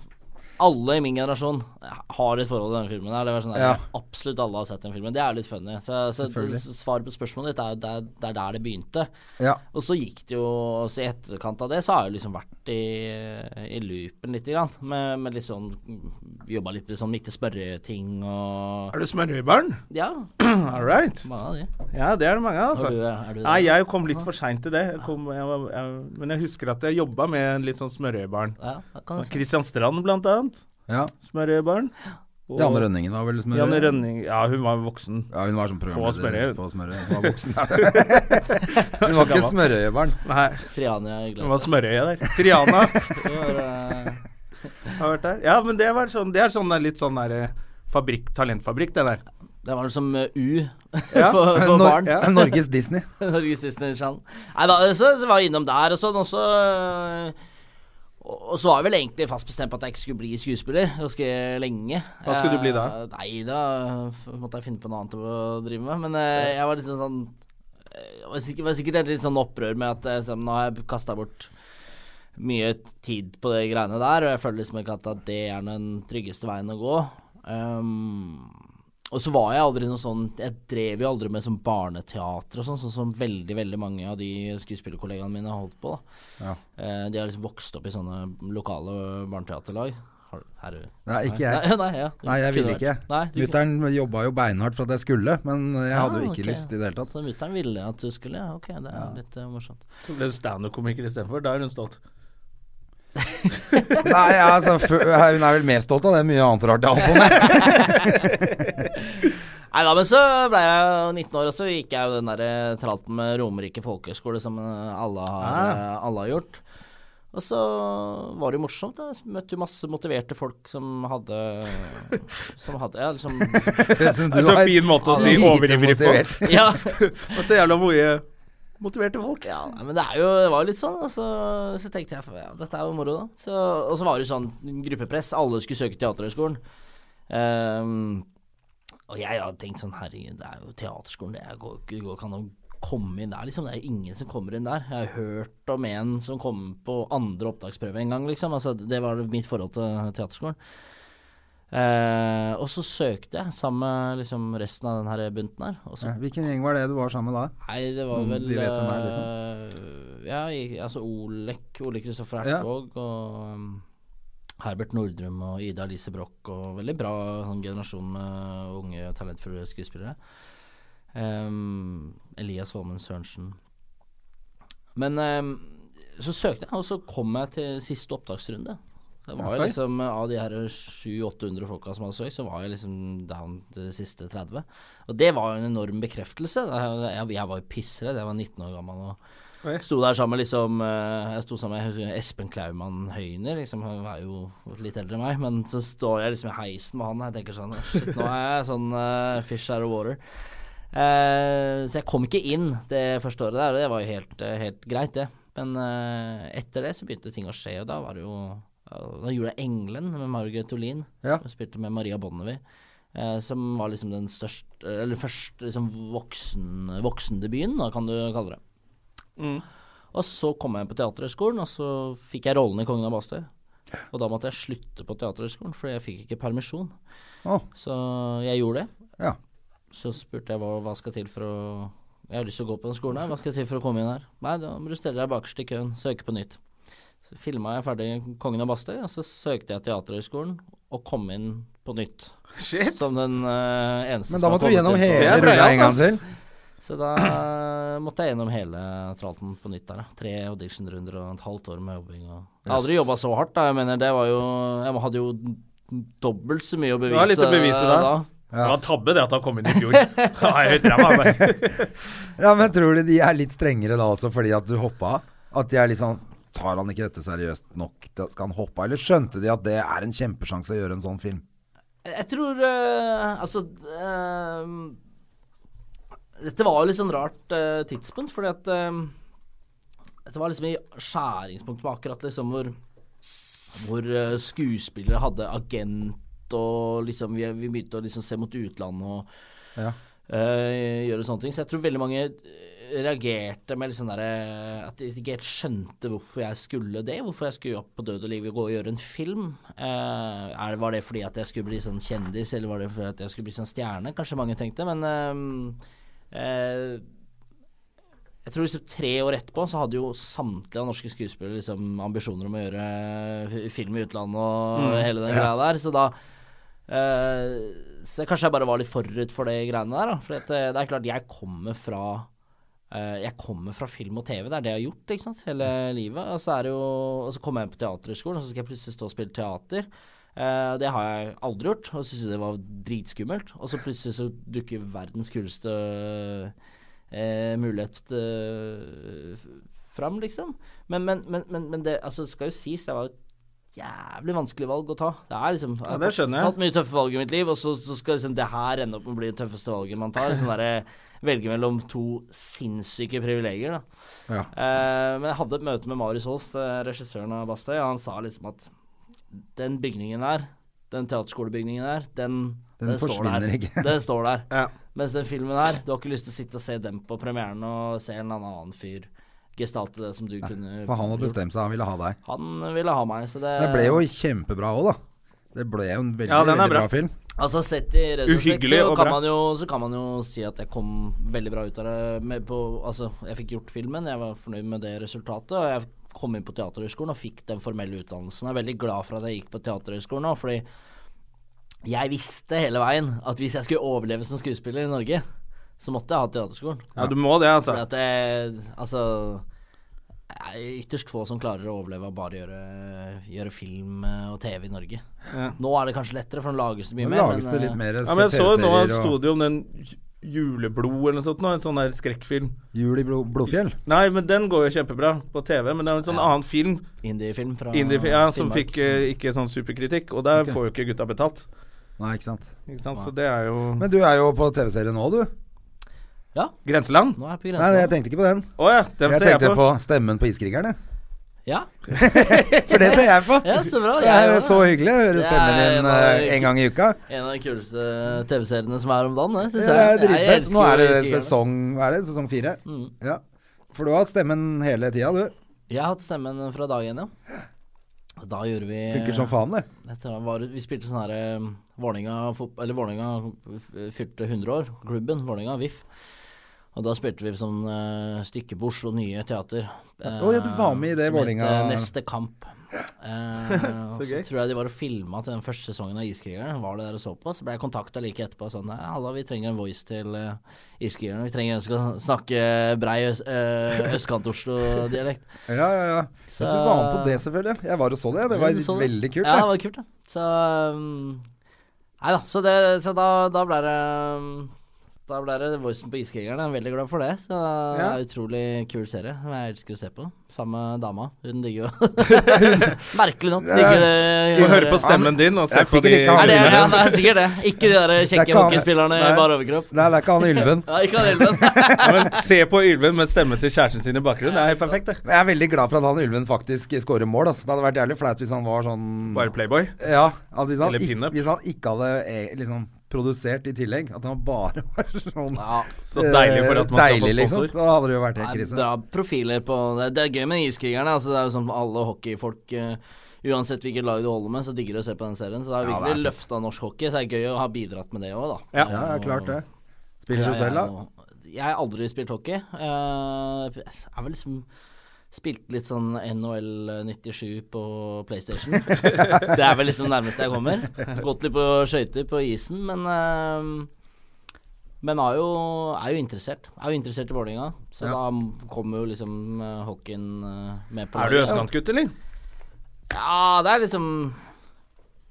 Speaker 3: Alle i min generasjon har et forhold til denne filmen. her. Det er sånn der,
Speaker 2: Ja.
Speaker 3: Absolutt alle har sett den filmen. Det er litt funny. Så, så
Speaker 2: Selvfølgelig.
Speaker 3: s- svaret på spørsmålet ditt er jo der, det er der det begynte.
Speaker 2: Ja.
Speaker 3: Og så gikk det jo så I etterkant av det så har jeg liksom vært i, i loopen lite grann. Med, med litt sånn Jobba litt med sånn ikke spørre-ting og
Speaker 1: er du smørøyebarn?
Speaker 3: Ja,
Speaker 1: All right.
Speaker 3: mange av de.
Speaker 1: Ja, det er det mange,
Speaker 3: Og
Speaker 1: altså.
Speaker 3: du, er du det?
Speaker 1: Nei, jeg kom litt for seint til det. Jeg kom, jeg, var- jeg, men jeg husker at jeg jobba med en litt sånn smørøyebarn.
Speaker 3: ja, kan jeg si.
Speaker 1: Kristian Strand, blant annet.
Speaker 2: Ja.
Speaker 1: Smørøyebarn. Og
Speaker 2: Janne Rønningen var vel smørøy?
Speaker 1: Janne Rønning. Ja, hun var voksen.
Speaker 2: Ja, hun var som
Speaker 1: Smørøy.
Speaker 2: programleder på Smørøy. Hun var voksen.
Speaker 1: Hun
Speaker 2: Hun var ikke
Speaker 1: gammel.
Speaker 2: smørøyebarn.
Speaker 1: Nei,
Speaker 3: Triania i
Speaker 1: hun var
Speaker 3: glasset.
Speaker 1: smørøye der. Triana
Speaker 3: Det var, eh,
Speaker 1: har vært der. Ja, men det, var sånn, det er sånn der, litt sånn der eh, fabrikk, talentfabrikk, det der.
Speaker 3: Det var liksom eh, U
Speaker 1: Ja,
Speaker 3: for, for barn.
Speaker 1: ja.
Speaker 2: Norges Disney.
Speaker 3: Norges Disney Channel. Nei da, så, så var jeg innom der og sånn, og så øh, og, og så var jeg vel egentlig fast bestemt på at jeg ikke skulle bli skuespiller ganske lenge.
Speaker 1: Hva skulle du bli da?
Speaker 3: Eh, Nei, da f- måtte jeg finne på noe annet å drive med. Men eh, jeg var liksom sånn eh, Jeg var sikkert, var sikkert litt sånn opprør med at eh, sånn, nå har jeg kasta bort mye tid på de greiene der, og jeg føler liksom ikke at at det er den tryggeste veien å gå. Ehm, og så var jeg aldri noe sånn Jeg drev jo aldri med sånn barneteater og sånn, sånn som veldig, veldig mange av de skuespillerkollegaene mine har holdt på. da
Speaker 2: Ja.
Speaker 3: eh, De har liksom vokst opp i sånne lokale barneteaterlag. Har du- er du-
Speaker 2: Nei, ikke jeg.
Speaker 3: Nei, nei, ja.
Speaker 2: Nei, jeg ville
Speaker 3: Kunne
Speaker 2: ikke.
Speaker 3: vært. Nei, du kunne-
Speaker 2: Mutter'n jobba jo beinhardt for at jeg skulle, men jeg hadde jo
Speaker 3: Ah,
Speaker 2: ikke
Speaker 3: ok.
Speaker 2: lyst i det hele tatt.
Speaker 3: Så mutter'n ville at du skulle? ja, Ok, det er litt eh, morsomt.
Speaker 1: Så ble du standup-komiker istedenfor. Da er hun stolt.
Speaker 2: Nei, altså, f- hun er vel mer stolt av det enn mye annet rart jeg har holdt på med.
Speaker 3: Nei da, men så ble jeg jo 19 år, og så gikk jeg jo den der eh, tralten med Romerike folkehøgskole som eh, alle har, eh, alle har gjort. Og så var det jo morsomt. da. Jeg møtte jo masse motiverte folk som hadde Som hadde Ja, liksom
Speaker 2: Det som du
Speaker 1: Det er så
Speaker 2: har.
Speaker 1: fin måte å si
Speaker 2: Lite
Speaker 1: overivrig på.
Speaker 2: motivert.
Speaker 3: Ja.
Speaker 1: At det er jævla mye motiverte folk.
Speaker 3: Ja, nei, men det er jo det var jo litt sånn, og så, så tenkte jeg ja, dette er jo moro, da. Så, og så var det jo sånn gruppepress. Alle skulle søke Teaterhøgskolen. Ehm, og jeg hadde tenkt sånn herregud, det er jo Teaterskolen, det er- går ikke går ikke an å komme inn der, liksom. Det er jo ingen som kommer inn der. Jeg har hørt om en som kom på andre opptaksprøve en gang, liksom. Altså, det var mitt forhold til Teaterskolen. Eh, og så søkte jeg sammen med liksom, resten av den her bunten her, og så
Speaker 2: Ja, Hvilken gjeng var det du var sammen med da?
Speaker 3: Nei, det var
Speaker 2: Noen
Speaker 3: vel
Speaker 2: vi Mm, vet hvem er,
Speaker 3: eh, Ja, i- altså Olek, Ole Kristoffer
Speaker 2: Ja.
Speaker 3: Ertvåg og um, Herbert Nordrum og Ida Lise Broch og veldig bra sånn generasjon med unge talentfulle skuespillere. Ehm, Elias Holmen Sørensen. Men ehm, så søkte jeg, og så kom jeg til siste opptaksrunde. Det var jo
Speaker 2: Oi.
Speaker 3: liksom eh, Av de her 700-800 folka som hadde søkt, så var jeg liksom down til de siste 30. Og det var jo en enorm bekreftelse. Jeg, jeg, jeg var jo pissredd, jeg var 19 år gammel
Speaker 1: Oi.
Speaker 3: og sto der sammen med liksom eh, Jeg sto sammen med jeg husker Espen Klaumann Høyner, liksom. Han er jo litt eldre enn meg, men så står jeg liksom i heisen med han, og jeg tenker sånn Shit, nå er jeg sånn eh, fish out of water. Eh, så jeg kom ikke inn det første året der, og det var jo helt, eh, helt greit, det. Men eh, etter det så begynte ting å skje, og da var det jo ja, Da gjorde jeg 'Engelen' med Margaret Olin.
Speaker 2: Ja.
Speaker 3: Hun spilte med Maria Bonnevie. eh, som var liksom den største Eller første liksom voksen, voksendebuten, da kan du kalle det. Og så kom jeg på Teaterhøgskolen, og så fikk jeg rollen i 'Kongen av Bastøy'. Og da måtte jeg slutte på Teaterhøgskolen, fordi jeg fikk ikke permisjon.
Speaker 2: Å.
Speaker 3: Så jeg gjorde det.
Speaker 2: Ja.
Speaker 3: Så spurte jeg hva, hva skal til for å Jeg har lyst til å gå på den skolen her, hva skal til for å komme inn her? Nei, da må du stelle deg bakerst i køen, søke på nytt. Så filma jeg ferdig Kongen av Bastøy, og så søkte jeg Teaterhøgskolen og kom inn på nytt.
Speaker 1: Shit!
Speaker 3: Som den eh, eneste
Speaker 2: Men
Speaker 3: som
Speaker 2: da
Speaker 3: har
Speaker 2: måtte du
Speaker 3: kommet
Speaker 2: gjennom
Speaker 3: inn
Speaker 1: Det
Speaker 3: på-
Speaker 2: hele
Speaker 1: er
Speaker 2: rulla
Speaker 1: breialt,
Speaker 2: en gang
Speaker 1: ass.
Speaker 2: til.
Speaker 3: Så da eh, måtte jeg gjennom hele tralten på nytt der. da. Tre auditionrunder og et halvt år med jobbing. Og... Jeg har aldri jobba så hardt, da. Jeg mener, det var jo Jeg hadde jo dobbelt så mye å bevise,
Speaker 1: var litt å bevise da. Det var en tabbe det at han kom inn i fjor. Ja, jeg vet, jeg var bare-
Speaker 2: Ja, men tror du de er litt strengere da også fordi at du hoppa av? At de er litt sånn Tar han ikke dette seriøst nok? Da Skal han hoppe av? Eller skjønte de at det er en kjempesjanse å gjøre en sånn film?
Speaker 3: Jeg tror eh, Altså eh, Dette var jo litt sånn rart eh, tidspunkt, fordi at eh, Dette var liksom i skjæringspunktet med akkurat liksom hvor Hvor eh, skuespillere hadde agent og liksom Vi, vi begynte å liksom se mot utlandet og
Speaker 2: Ja.
Speaker 3: eh, gjøre sånne ting. Så jeg tror veldig mange eh, reagerte med liksom derre At de ikke helt skjønte hvorfor jeg skulle det. Hvorfor jeg skulle opp på Død og liv og gå og gjøre en film. Eh, er, var det fordi at jeg skulle bli sånn kjendis, eller var det fordi at jeg skulle bli sånn stjerne? Kanskje mange tenkte, men eh, eh, jeg tror liksom tre år etterpå så hadde jo samtlige av norske skuespillere liksom ambisjoner om å gjøre f- film i utlandet og hele den greia der, så da eh, Så kanskje jeg bare var litt forut for de greiene der, da. For at, eh, det er klart, jeg kommer fra eh, jeg kommer fra film og TV, det er det jeg har gjort ikke sant? hele livet. Og så, er det jo, og så kommer jeg på teaterhøgskolen, og så skal jeg plutselig stå og spille teater. Eh, det har jeg aldri gjort, og syntes jo det var dritskummelt. Og så plutselig så dukker verdens kuleste eh, mulighet eh, f- fram, liksom. Men, men, men, men, men det altså, det skal jo sies, det var jo et jævlig vanskelig valg å ta. Det er liksom Jeg har
Speaker 1: det skjønner jeg.
Speaker 3: tatt mye tøffe valg i mitt liv, og så, så skal liksom det her ende opp med å bli det tøffeste valget man tar. Sånn derre velge mellom to sinnssyke privilegier, da.
Speaker 2: Ja.
Speaker 3: Eh, men jeg hadde et møte med Marius Holst, eh, regissøren av Bastøy, og han sa liksom at den bygningen der, den teaterskolebygningen der, den,
Speaker 2: Den
Speaker 3: står
Speaker 2: forsvinner
Speaker 3: der.
Speaker 2: ikke.
Speaker 3: Den står der.
Speaker 1: Ja.
Speaker 3: Mens den filmen her, du har ikke lyst til å sitte og se den på premieren og se en annen fyr gestalte det som du kunne
Speaker 2: For han hadde
Speaker 3: gjort.
Speaker 2: bestemt seg, han ville ha deg.
Speaker 3: Han ville ha meg, så det
Speaker 2: Det ble jo kjempebra òg, da. Det ble jo en veldig,
Speaker 1: Ja, den er
Speaker 2: veldig bra.
Speaker 1: bra.
Speaker 2: film.
Speaker 3: Altså sett i retrospekt
Speaker 1: Uhyggelig
Speaker 3: så,
Speaker 1: og
Speaker 3: kan
Speaker 1: bra.
Speaker 3: man jo, så kan man jo si at jeg kom veldig bra ut av det. Med på, altså, jeg fikk gjort filmen, jeg var fornøyd med det resultatet. Og jeg kom inn på Teaterhøgskolen og fikk den formelle utdannelsen. Jeg er veldig glad for at jeg gikk på Teaterhøgskolen nå, fordi jeg visste hele veien at hvis jeg skulle overleve som skuespiller i Norge, så måtte jeg ha teaterskolen.
Speaker 1: ja, du må det, altså.
Speaker 3: Fordi at det Altså det er ytterst få som klarer å overleve av bare å gjøre, gjøre film eh, og TV i Norge. Nå er det kanskje lettere, for nå lages det mye
Speaker 2: Nå
Speaker 3: mer.
Speaker 2: lages det
Speaker 3: eh,
Speaker 2: litt mer
Speaker 1: Ja, men jeg så jo nå
Speaker 2: TV-serier
Speaker 1: sto det jo om den Juleblod eller noe sånt, nå, en sånn der skrekkfilm.
Speaker 2: og Jul i Blo- Blodfjell.
Speaker 1: Nei, men den går jo kjempebra på TV, men det er en sånn annen film,
Speaker 3: Indiefilm fra
Speaker 1: indie, ja, som
Speaker 3: Finnmark.
Speaker 1: fikk eh, ikke sånn superkritikk, og der
Speaker 2: Ok.
Speaker 1: får jo ikke gutta betalt.
Speaker 2: Nei, ikke sant.
Speaker 1: Ikke sant? Så det er jo
Speaker 2: Men du er jo på TV-serie nå, du.
Speaker 1: Grenseland?
Speaker 3: Nå er jeg på
Speaker 2: Nei, jeg
Speaker 3: grensen.
Speaker 2: tenkte ikke på den.
Speaker 1: Å ja, den
Speaker 2: Jeg
Speaker 1: ser jeg
Speaker 2: tenkte
Speaker 1: på.
Speaker 2: på Stemmen på Iskrigerne.
Speaker 3: Ja.
Speaker 2: For det ser jeg på.
Speaker 3: ja, så bra.
Speaker 2: Det er jo så hyggelig å høre
Speaker 3: Det er
Speaker 2: stemmen din
Speaker 3: en av-
Speaker 2: eh, en gang i uka.
Speaker 3: En av de kuleste TV-seriene som er om dagen, det syns
Speaker 2: Ja, det
Speaker 3: jeg.
Speaker 2: er dritfett.
Speaker 3: elsker
Speaker 2: Nå er det
Speaker 3: Iskrigerne.
Speaker 2: sesong Hva er det? Sesong fire?
Speaker 3: Mm.
Speaker 2: Ja. For du har hatt stemmen hele tida, du.
Speaker 3: Jeg har hatt stemmen fra dag én, ja. Da gjorde vi
Speaker 2: Funker som faen, det.
Speaker 3: Dette her var, vi spilte sånn her eh, Vålerenga fot- Eller Vålerenga f- fylte 100 år. Klubben Vålerenga VIF. Og da spilte vi sånn eh, stykke på Oslo Nye Teater. eh,
Speaker 2: Å, ja, du var med i det
Speaker 3: som het, eh,
Speaker 2: Vålerenga-
Speaker 3: Neste kamp. Eh, og så
Speaker 1: gøy.
Speaker 3: tror jeg de var og filma til den første sesongen av Iskrigerne. Var det der og så på. Så ble jeg kontakta like etterpå sånn «Nei, Halla, vi trenger en voice til eh, Iskrigerne. Vi trenger en som kan snakke brei øst, eh, østkant-Oslo-dialekt.
Speaker 2: Ja, ja, ja.
Speaker 3: Så-
Speaker 2: Du var med på det, selvfølgelig. Jeg var og så det. Det var
Speaker 3: Du så
Speaker 2: veldig kult.
Speaker 3: Ja, det
Speaker 2: Det.
Speaker 3: var kult, det. Så um, Nei da. Så, det, så da, da ble det um, Da ble det voicen på Iskrigerne. Jeg er veldig glad for det. Så det
Speaker 1: Ja.
Speaker 3: er en Utrolig kul serie som jeg elsker å se på. Samme dama. Hun digger jo Merkelig nok. Digger eh, det.
Speaker 1: Du hører på stemmen din og ser
Speaker 2: er
Speaker 1: på
Speaker 2: sikkert
Speaker 1: de
Speaker 2: ikke han
Speaker 3: Er det,
Speaker 2: Ylven.
Speaker 3: ja, det er sikkert det. Ikke de der
Speaker 2: Det
Speaker 3: kjekke
Speaker 2: er ikke han-
Speaker 3: hockeyspillerne i
Speaker 1: Nei.
Speaker 3: bar overkropp.
Speaker 2: Nei, det er ikke han Ylven.
Speaker 3: Ja, ikke han Elven.
Speaker 1: Ja, men Se på Ylven med stemme til kjæresten sin i bakgrunnen. Det er helt perfekt, det.
Speaker 2: Men Jeg er veldig glad for at han Ylven faktisk scorer mål. Altså. Det hadde vært jævlig flaut hvis han var sånn
Speaker 1: Bare Playboy.
Speaker 2: Ja, at hvis, han
Speaker 1: Eller
Speaker 2: ikke,
Speaker 1: pinup.
Speaker 2: hvis han ikke hadde eh, liksom produsert i tillegg. At han bare var sånn
Speaker 3: Ja.
Speaker 1: Så deilig for at man skal få
Speaker 2: deilig, liksom.
Speaker 1: sponsor.
Speaker 2: Da hadde det jo vært
Speaker 3: Det
Speaker 2: helt
Speaker 3: er
Speaker 2: krise.
Speaker 3: bra profiler på det, det er gøy med iskrigerne. Altså, det er jo sånn for alle hockeyfolk eh, uansett hvilket lag du holder med, så digger du å se på den serien. Så det har
Speaker 2: Ja, det
Speaker 3: virkelig
Speaker 2: er
Speaker 3: løfta norsk hockey, så det er gøy å ha bidratt med det òg, da.
Speaker 1: Ja.
Speaker 2: Ja, ja, klart det. Spiller
Speaker 3: Ja,
Speaker 2: du selv, da?
Speaker 3: jeg er jo- Jeg har aldri spilt hockey. Eh, Jeg har vel liksom spilt litt sånn NHL 97 på PlayStation. det er vel liksom nærmeste jeg kommer. Gått litt på skøyter på isen, men eh, Men er jo, er jo interessert. Er jo interessert i Vålerenga, så da kommer jo liksom eh, hockeyen eh, med på
Speaker 1: Er du østkantgutt, eller?
Speaker 3: Ja, det er liksom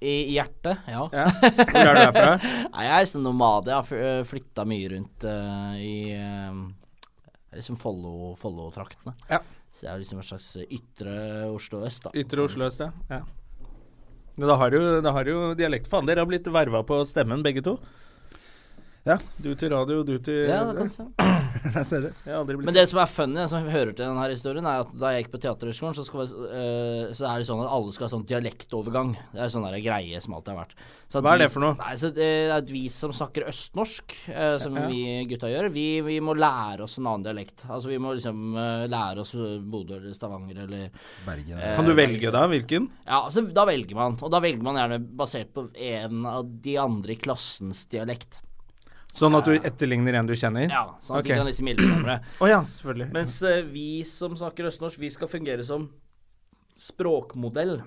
Speaker 3: i i hjertet, ja.
Speaker 1: Ja. Hvor er du herfra?
Speaker 3: Nei, jeg er liksom nomade. Jeg har flytta mye rundt eh, i eh, liksom Follo- Follo-traktene.
Speaker 1: Ja.
Speaker 3: Så jeg er liksom en slags ytre Oslo øst, da.
Speaker 1: Ytre Oslo øst, ja. ja. Men Da har du, da har du dialekt. Faen, dere har blitt verva på stemmen, begge to.
Speaker 2: Ja.
Speaker 1: Du til radio, du til
Speaker 3: Ja, det kan du si.
Speaker 2: Der ser du.
Speaker 1: Jeg har aldri blitt
Speaker 3: Men det som er funny, som hører til denne historien, er at da jeg gikk på Teaterhøgskolen, så, skal, eh, så er det sånn at alle skal ha sånn dialektovergang. Det er sånn der greie som alltid har vært. Så at
Speaker 1: Hva er
Speaker 3: vi-
Speaker 1: det for noe?
Speaker 3: Nei, så det er at vi som snakker østnorsk, eh, som vi gutta gjør, vi, vi må lære oss en annen dialekt. Altså vi må liksom eh, lære oss eh, Bodø eller Stavanger eller
Speaker 2: Bergen.
Speaker 3: eh,
Speaker 1: Kan du velge da hvilken?
Speaker 3: Ja, så da velger man. Og da velger man gjerne basert på en av de andre i klassens dialekt.
Speaker 1: Sånn at du etterligner en du kjenner?
Speaker 3: Ja, sånn at
Speaker 1: Ok.
Speaker 3: de kan liksom hjelpe hverandre.
Speaker 1: Å ja, selvfølgelig.
Speaker 3: Mens eh, vi som snakker østnorsk, vi skal fungere som språkmodell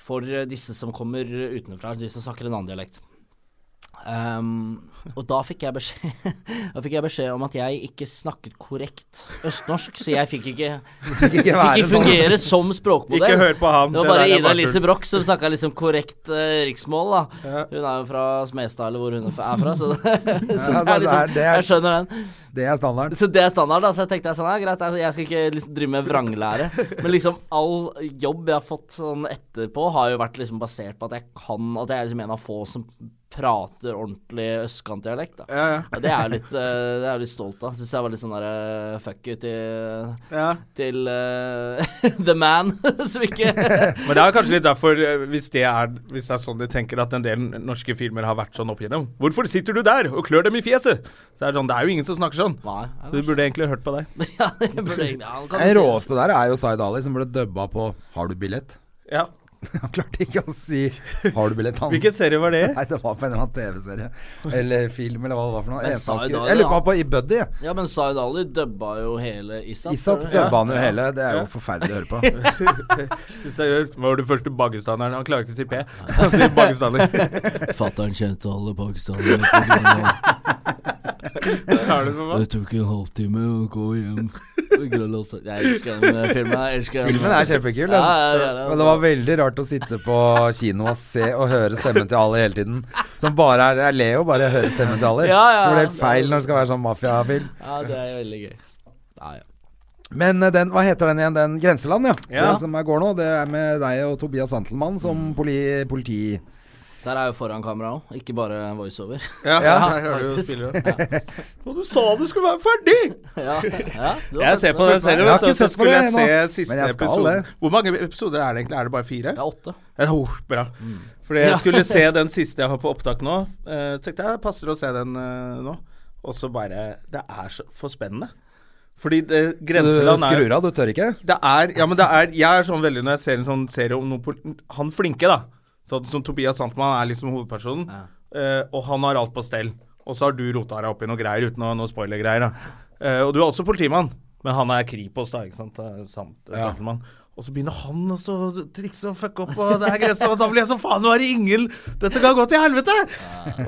Speaker 3: for eh, disse som kommer utenfra, de som snakker en annen dialekt. Ehm, og da fikk, jeg beskjed, da fikk jeg beskjed om at jeg ikke snakket korrekt østnorsk, så jeg fikk ikke,
Speaker 2: Skal ikke
Speaker 3: fikk
Speaker 2: være
Speaker 3: ikke
Speaker 2: sånn.
Speaker 3: fungere som språkmodell.
Speaker 1: Ikke hør på han,
Speaker 3: Det var
Speaker 1: det
Speaker 3: bare
Speaker 1: der er
Speaker 3: Ida
Speaker 1: bare
Speaker 3: Lise
Speaker 1: tull.
Speaker 3: Broch som snakka liksom korrekt eh, riksmål, da. Hun er jo fra Smestad, eller hvor hun er fra, så, så
Speaker 2: Ja,
Speaker 3: det er
Speaker 2: det er-
Speaker 3: liksom,
Speaker 2: det er-
Speaker 3: jeg skjønner den.
Speaker 2: Det er standarden.
Speaker 3: Så det er standard, da. Så jeg tenkte jeg sånn, ja, greit, altså, jeg skal ikke liksom drive med vranglære. Men liksom all jobb jeg har fått sånn etterpå, har jo vært liksom basert på at jeg kan At jeg er liksom en av få som prater ordentlig østkantdialekt, da.
Speaker 1: Ja, ja.
Speaker 3: Og det er jeg litt, eh, det er jeg litt stolt av. Syns jeg var litt sånn derre fuck you til,
Speaker 1: ja.
Speaker 3: til eh, the man som ikke
Speaker 1: Men det er kanskje litt derfor, eh, hvis det, er, hvis det er sånn de tenker at en del norske filmer har vært sånn opp igjennom Hvorfor sitter du der og klør dem i fjeset? Så er det, sånn, det er jo ingen som snakker sånn.
Speaker 3: Nei.
Speaker 1: Så du burde egentlig hørt på deg.
Speaker 3: Ja, det burde egentlig ja, han kan
Speaker 2: Den
Speaker 3: si-
Speaker 2: råeste der er jo Zaid Ali, som ble dubba på 'Har du billett?'
Speaker 1: Ja.
Speaker 2: Han klarte ikke å si 'Har du billett', han.
Speaker 1: Hvilken serie var det?
Speaker 2: Nei, det var på en eller annen TV-serie eller film eller hva det var for noe.
Speaker 3: Men
Speaker 2: Eneste han
Speaker 3: Zaid
Speaker 2: skrev-
Speaker 3: Ali,
Speaker 2: Jeg lurer på
Speaker 3: ja.
Speaker 2: han på i Buddy. jeg.
Speaker 3: Ja, men Zaid Ali dubba jo hele Isat.
Speaker 2: Isat
Speaker 3: tror jeg.
Speaker 2: dubba han jo hele. Det er jo forferdelig å høre på.
Speaker 1: Seriøst, var du første pakistaneren? Han klarer ikke å si P. Han sier pakistaner.
Speaker 4: Fatter'n kjente alle pakistanere. på grunn av-
Speaker 1: Har du noe?
Speaker 4: Det tok en halvtime å gå hjem.
Speaker 3: Grønn også. Jeg elsker den eh, filmen. Jeg elsker den.
Speaker 2: Filmen er kjempekul. den.
Speaker 3: Ja, ja, ja, ja.
Speaker 2: Men det var veldig rart å sitte på kino og se og høre stemmen til Ali hele tiden. Som bare er Jeg ler jo bare av å høre stemmen til Ali.
Speaker 3: Ja, ja,
Speaker 2: Så blir det
Speaker 3: ja.
Speaker 2: helt feil når det skal være sånn mafiafilm.
Speaker 3: Ja, det er veldig gøy. Nei, ja.
Speaker 2: Men eh, den, hva heter den igjen? Den Grenseland, ja.
Speaker 1: Ja. Mm.
Speaker 2: Den som er går nå. Det er med deg og Tobias Santelmann som poli, politi...
Speaker 3: Der er jo foran kamera òg, ikke bare voiceover.
Speaker 1: Ja,
Speaker 2: Ja,
Speaker 1: her hører du
Speaker 3: faktisk.
Speaker 1: spiller Og du sa du skulle være ferdig!
Speaker 3: ja, ja, du har
Speaker 1: Jeg
Speaker 3: sett
Speaker 1: ser på
Speaker 3: den.
Speaker 1: den serien,
Speaker 2: Jeg har
Speaker 1: vet du.
Speaker 2: ikke
Speaker 1: Så
Speaker 2: sett på det
Speaker 1: skulle jeg
Speaker 2: ennå.
Speaker 1: se
Speaker 2: Men
Speaker 1: siste
Speaker 2: jeg skal
Speaker 1: episode.
Speaker 2: det.
Speaker 1: Hvor mange episoder er det egentlig? Er det bare fire?
Speaker 3: Det er åtte.
Speaker 1: Ja, oh, bra.
Speaker 2: Mm.
Speaker 1: Fordi jeg skulle se den siste jeg har på opptak nå. Eh, tenkte jeg passer å se den eh, nå. Og så bare Det er så for spennende. Fordi det,
Speaker 2: Du
Speaker 1: Grenseland er
Speaker 2: skrur av, du tør ikke?
Speaker 1: det er, ja, men det er Jeg er sånn veldig når jeg ser en sånn serie om noen pol- Han flinke, da. Sånn som Tobias Sandtmann er liksom hovedpersonen. eh, og han har alt på stell. Og så har du rota deg opp i noe greier uten å- noe spoiler-greier. da. Eh, og du er også politimann, men han er Kripos, da. ikke sant? Det er Sant, Sandtmann. Og så begynner han også å trikse og fucke opp, og det er grensa, og da blir jeg så faen, nå er det ingen Dette kan gå til helvete!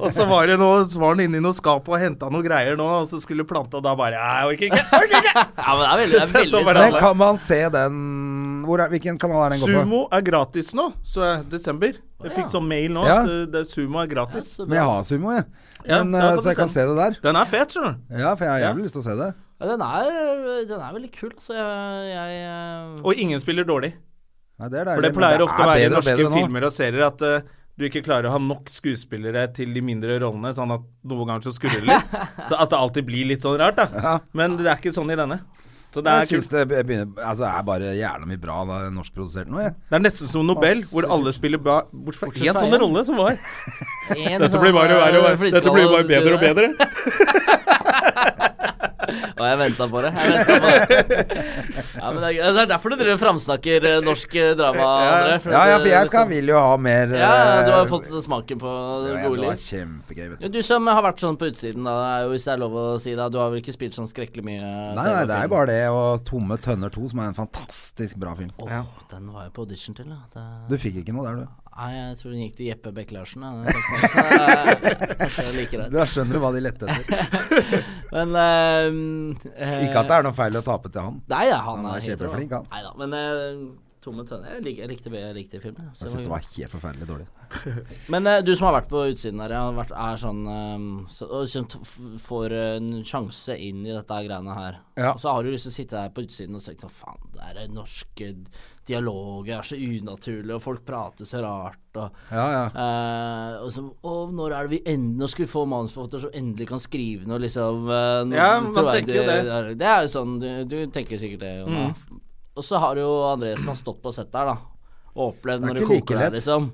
Speaker 1: Og så var det noe, så var han inne i noe skap og henta noe greier nå, og så skulle plante, og da bare Jeg orker ikke! Jeg orker ikke!
Speaker 3: Ja, men det er veldig, det er
Speaker 1: Så jeg så
Speaker 3: veldig
Speaker 1: bare
Speaker 3: spennende.
Speaker 2: Men kan man se den Hvor er, Hvilken kanal er den gått på?
Speaker 1: Sumo er gratis nå, så er desember. Jeg fikk sånn mail nå
Speaker 2: Ja.
Speaker 1: at eh, det, Sumo er gratis.
Speaker 2: Men jeg har Sumo, jeg.
Speaker 1: Ja,
Speaker 2: Men,
Speaker 1: da kan
Speaker 2: eh,
Speaker 1: du
Speaker 2: så jeg kan
Speaker 1: se
Speaker 2: se det der.
Speaker 1: Den er fet, skjønner du.
Speaker 2: Ja, for jeg har
Speaker 1: Ja.
Speaker 2: jævlig lyst til å se det.
Speaker 3: Ja, den, er, den er veldig kul, altså. Jeg, jeg eh,
Speaker 1: Og ingen spiller dårlig.
Speaker 2: Nei, det er
Speaker 1: For
Speaker 2: deilig,
Speaker 1: det
Speaker 2: men
Speaker 1: pleier ofte å
Speaker 2: er
Speaker 1: være i
Speaker 2: bedre og
Speaker 1: norske
Speaker 2: bedre nå.
Speaker 1: filmer og serier at eh, du ikke klarer å ha nok skuespillere til de mindre rollene, sånn at noen ganger så skurrer det litt. Så at det alltid blir litt sånn rart, da.
Speaker 2: Ja.
Speaker 1: Men det er ikke sånn i denne. Så det
Speaker 2: Jeg
Speaker 1: er
Speaker 2: syns
Speaker 1: kult.
Speaker 2: det be- begynner Altså, det er bare jævla mye bra da, norskprodusert nå, jeg.
Speaker 1: Det er nesten som Nobel,
Speaker 2: Masse
Speaker 1: hvor alle spiller ba bortsett fra
Speaker 3: Bortsett
Speaker 1: én
Speaker 3: fra
Speaker 1: sånn
Speaker 3: én.
Speaker 1: rolle som var.
Speaker 3: en
Speaker 1: Dette
Speaker 3: sånn,
Speaker 1: blir bare
Speaker 3: eh,
Speaker 1: verre og verre.
Speaker 3: flytteskalle-
Speaker 1: Dette blir bare bedre og bedre.
Speaker 3: Og Og jeg venta på det. Jeg ventet på det. Ja, men det, er, det er derfor du driver og framsnakker eh, norsk eh, drama, André. at
Speaker 2: Ja, ja,
Speaker 3: du- liksom
Speaker 2: for jeg skal, vil jo ha mer
Speaker 3: ja, du har
Speaker 2: eh,
Speaker 3: fått smaken på
Speaker 2: ja,
Speaker 3: det
Speaker 2: ja,
Speaker 3: gode
Speaker 2: Det var
Speaker 3: liv.
Speaker 2: kjempegøy, vet du.
Speaker 3: Ja, Du som har vært sånn på utsiden, da, det er jo, hvis det er lov å si da, du har vel ikke spilt sånn skrekkelig mye?
Speaker 2: Nei, nei, det er jo bare det og 'Tomme tønner 2', som er en fantastisk bra film.
Speaker 3: Åh, Den var jeg på audition til, da. Det-
Speaker 2: Du fikk ikke noe der, du.
Speaker 3: Nei, jeg tror den gikk til Jeppe Bekk-Larsen. ja. Kanskje jeg liker det.
Speaker 2: Da skjønner du hva de lette etter.
Speaker 3: Men ehm, eh,
Speaker 2: Ikke at det er noe feil å tape til han.
Speaker 3: Nei, ja, han,
Speaker 2: Han er
Speaker 3: helt
Speaker 2: kjempeflink,
Speaker 3: bra.
Speaker 2: han.
Speaker 3: Nei da, men eh, Tomme tønner jeg, lik, jeg likte jeg likte filmen. ja,
Speaker 2: Jeg
Speaker 3: så det
Speaker 2: syns det
Speaker 3: var-
Speaker 2: var helt forferdelig dårlig.
Speaker 3: Men eh, du som har vært på utsiden her, ja, har vært, er sånn eh, så, og liksom t- f- får en sjanse inn i dette her greiene her.
Speaker 2: Ja.
Speaker 3: Og så har du liksom sittet her på utsiden og tenkt sånn faen, det er det norske dialoger er så unaturlig, og folk prater så rart, og
Speaker 2: Ja, ja.
Speaker 3: Eh, og så, å, når er det vi end Nå skal vi få manusforfatter som endelig kan skrive noe, liksom. eh, nå
Speaker 1: Ja, man
Speaker 3: tror jeg
Speaker 1: tenker jo det.
Speaker 3: er- Det er jo sånn, du, du tenker sikkert det, Jonna.
Speaker 2: Mm.
Speaker 3: Og så har du jo André som har stått på settet her, da. Og opplevd
Speaker 2: Det er
Speaker 3: når det
Speaker 2: ikke
Speaker 3: koker
Speaker 2: like
Speaker 3: der,
Speaker 2: lett.
Speaker 3: liksom.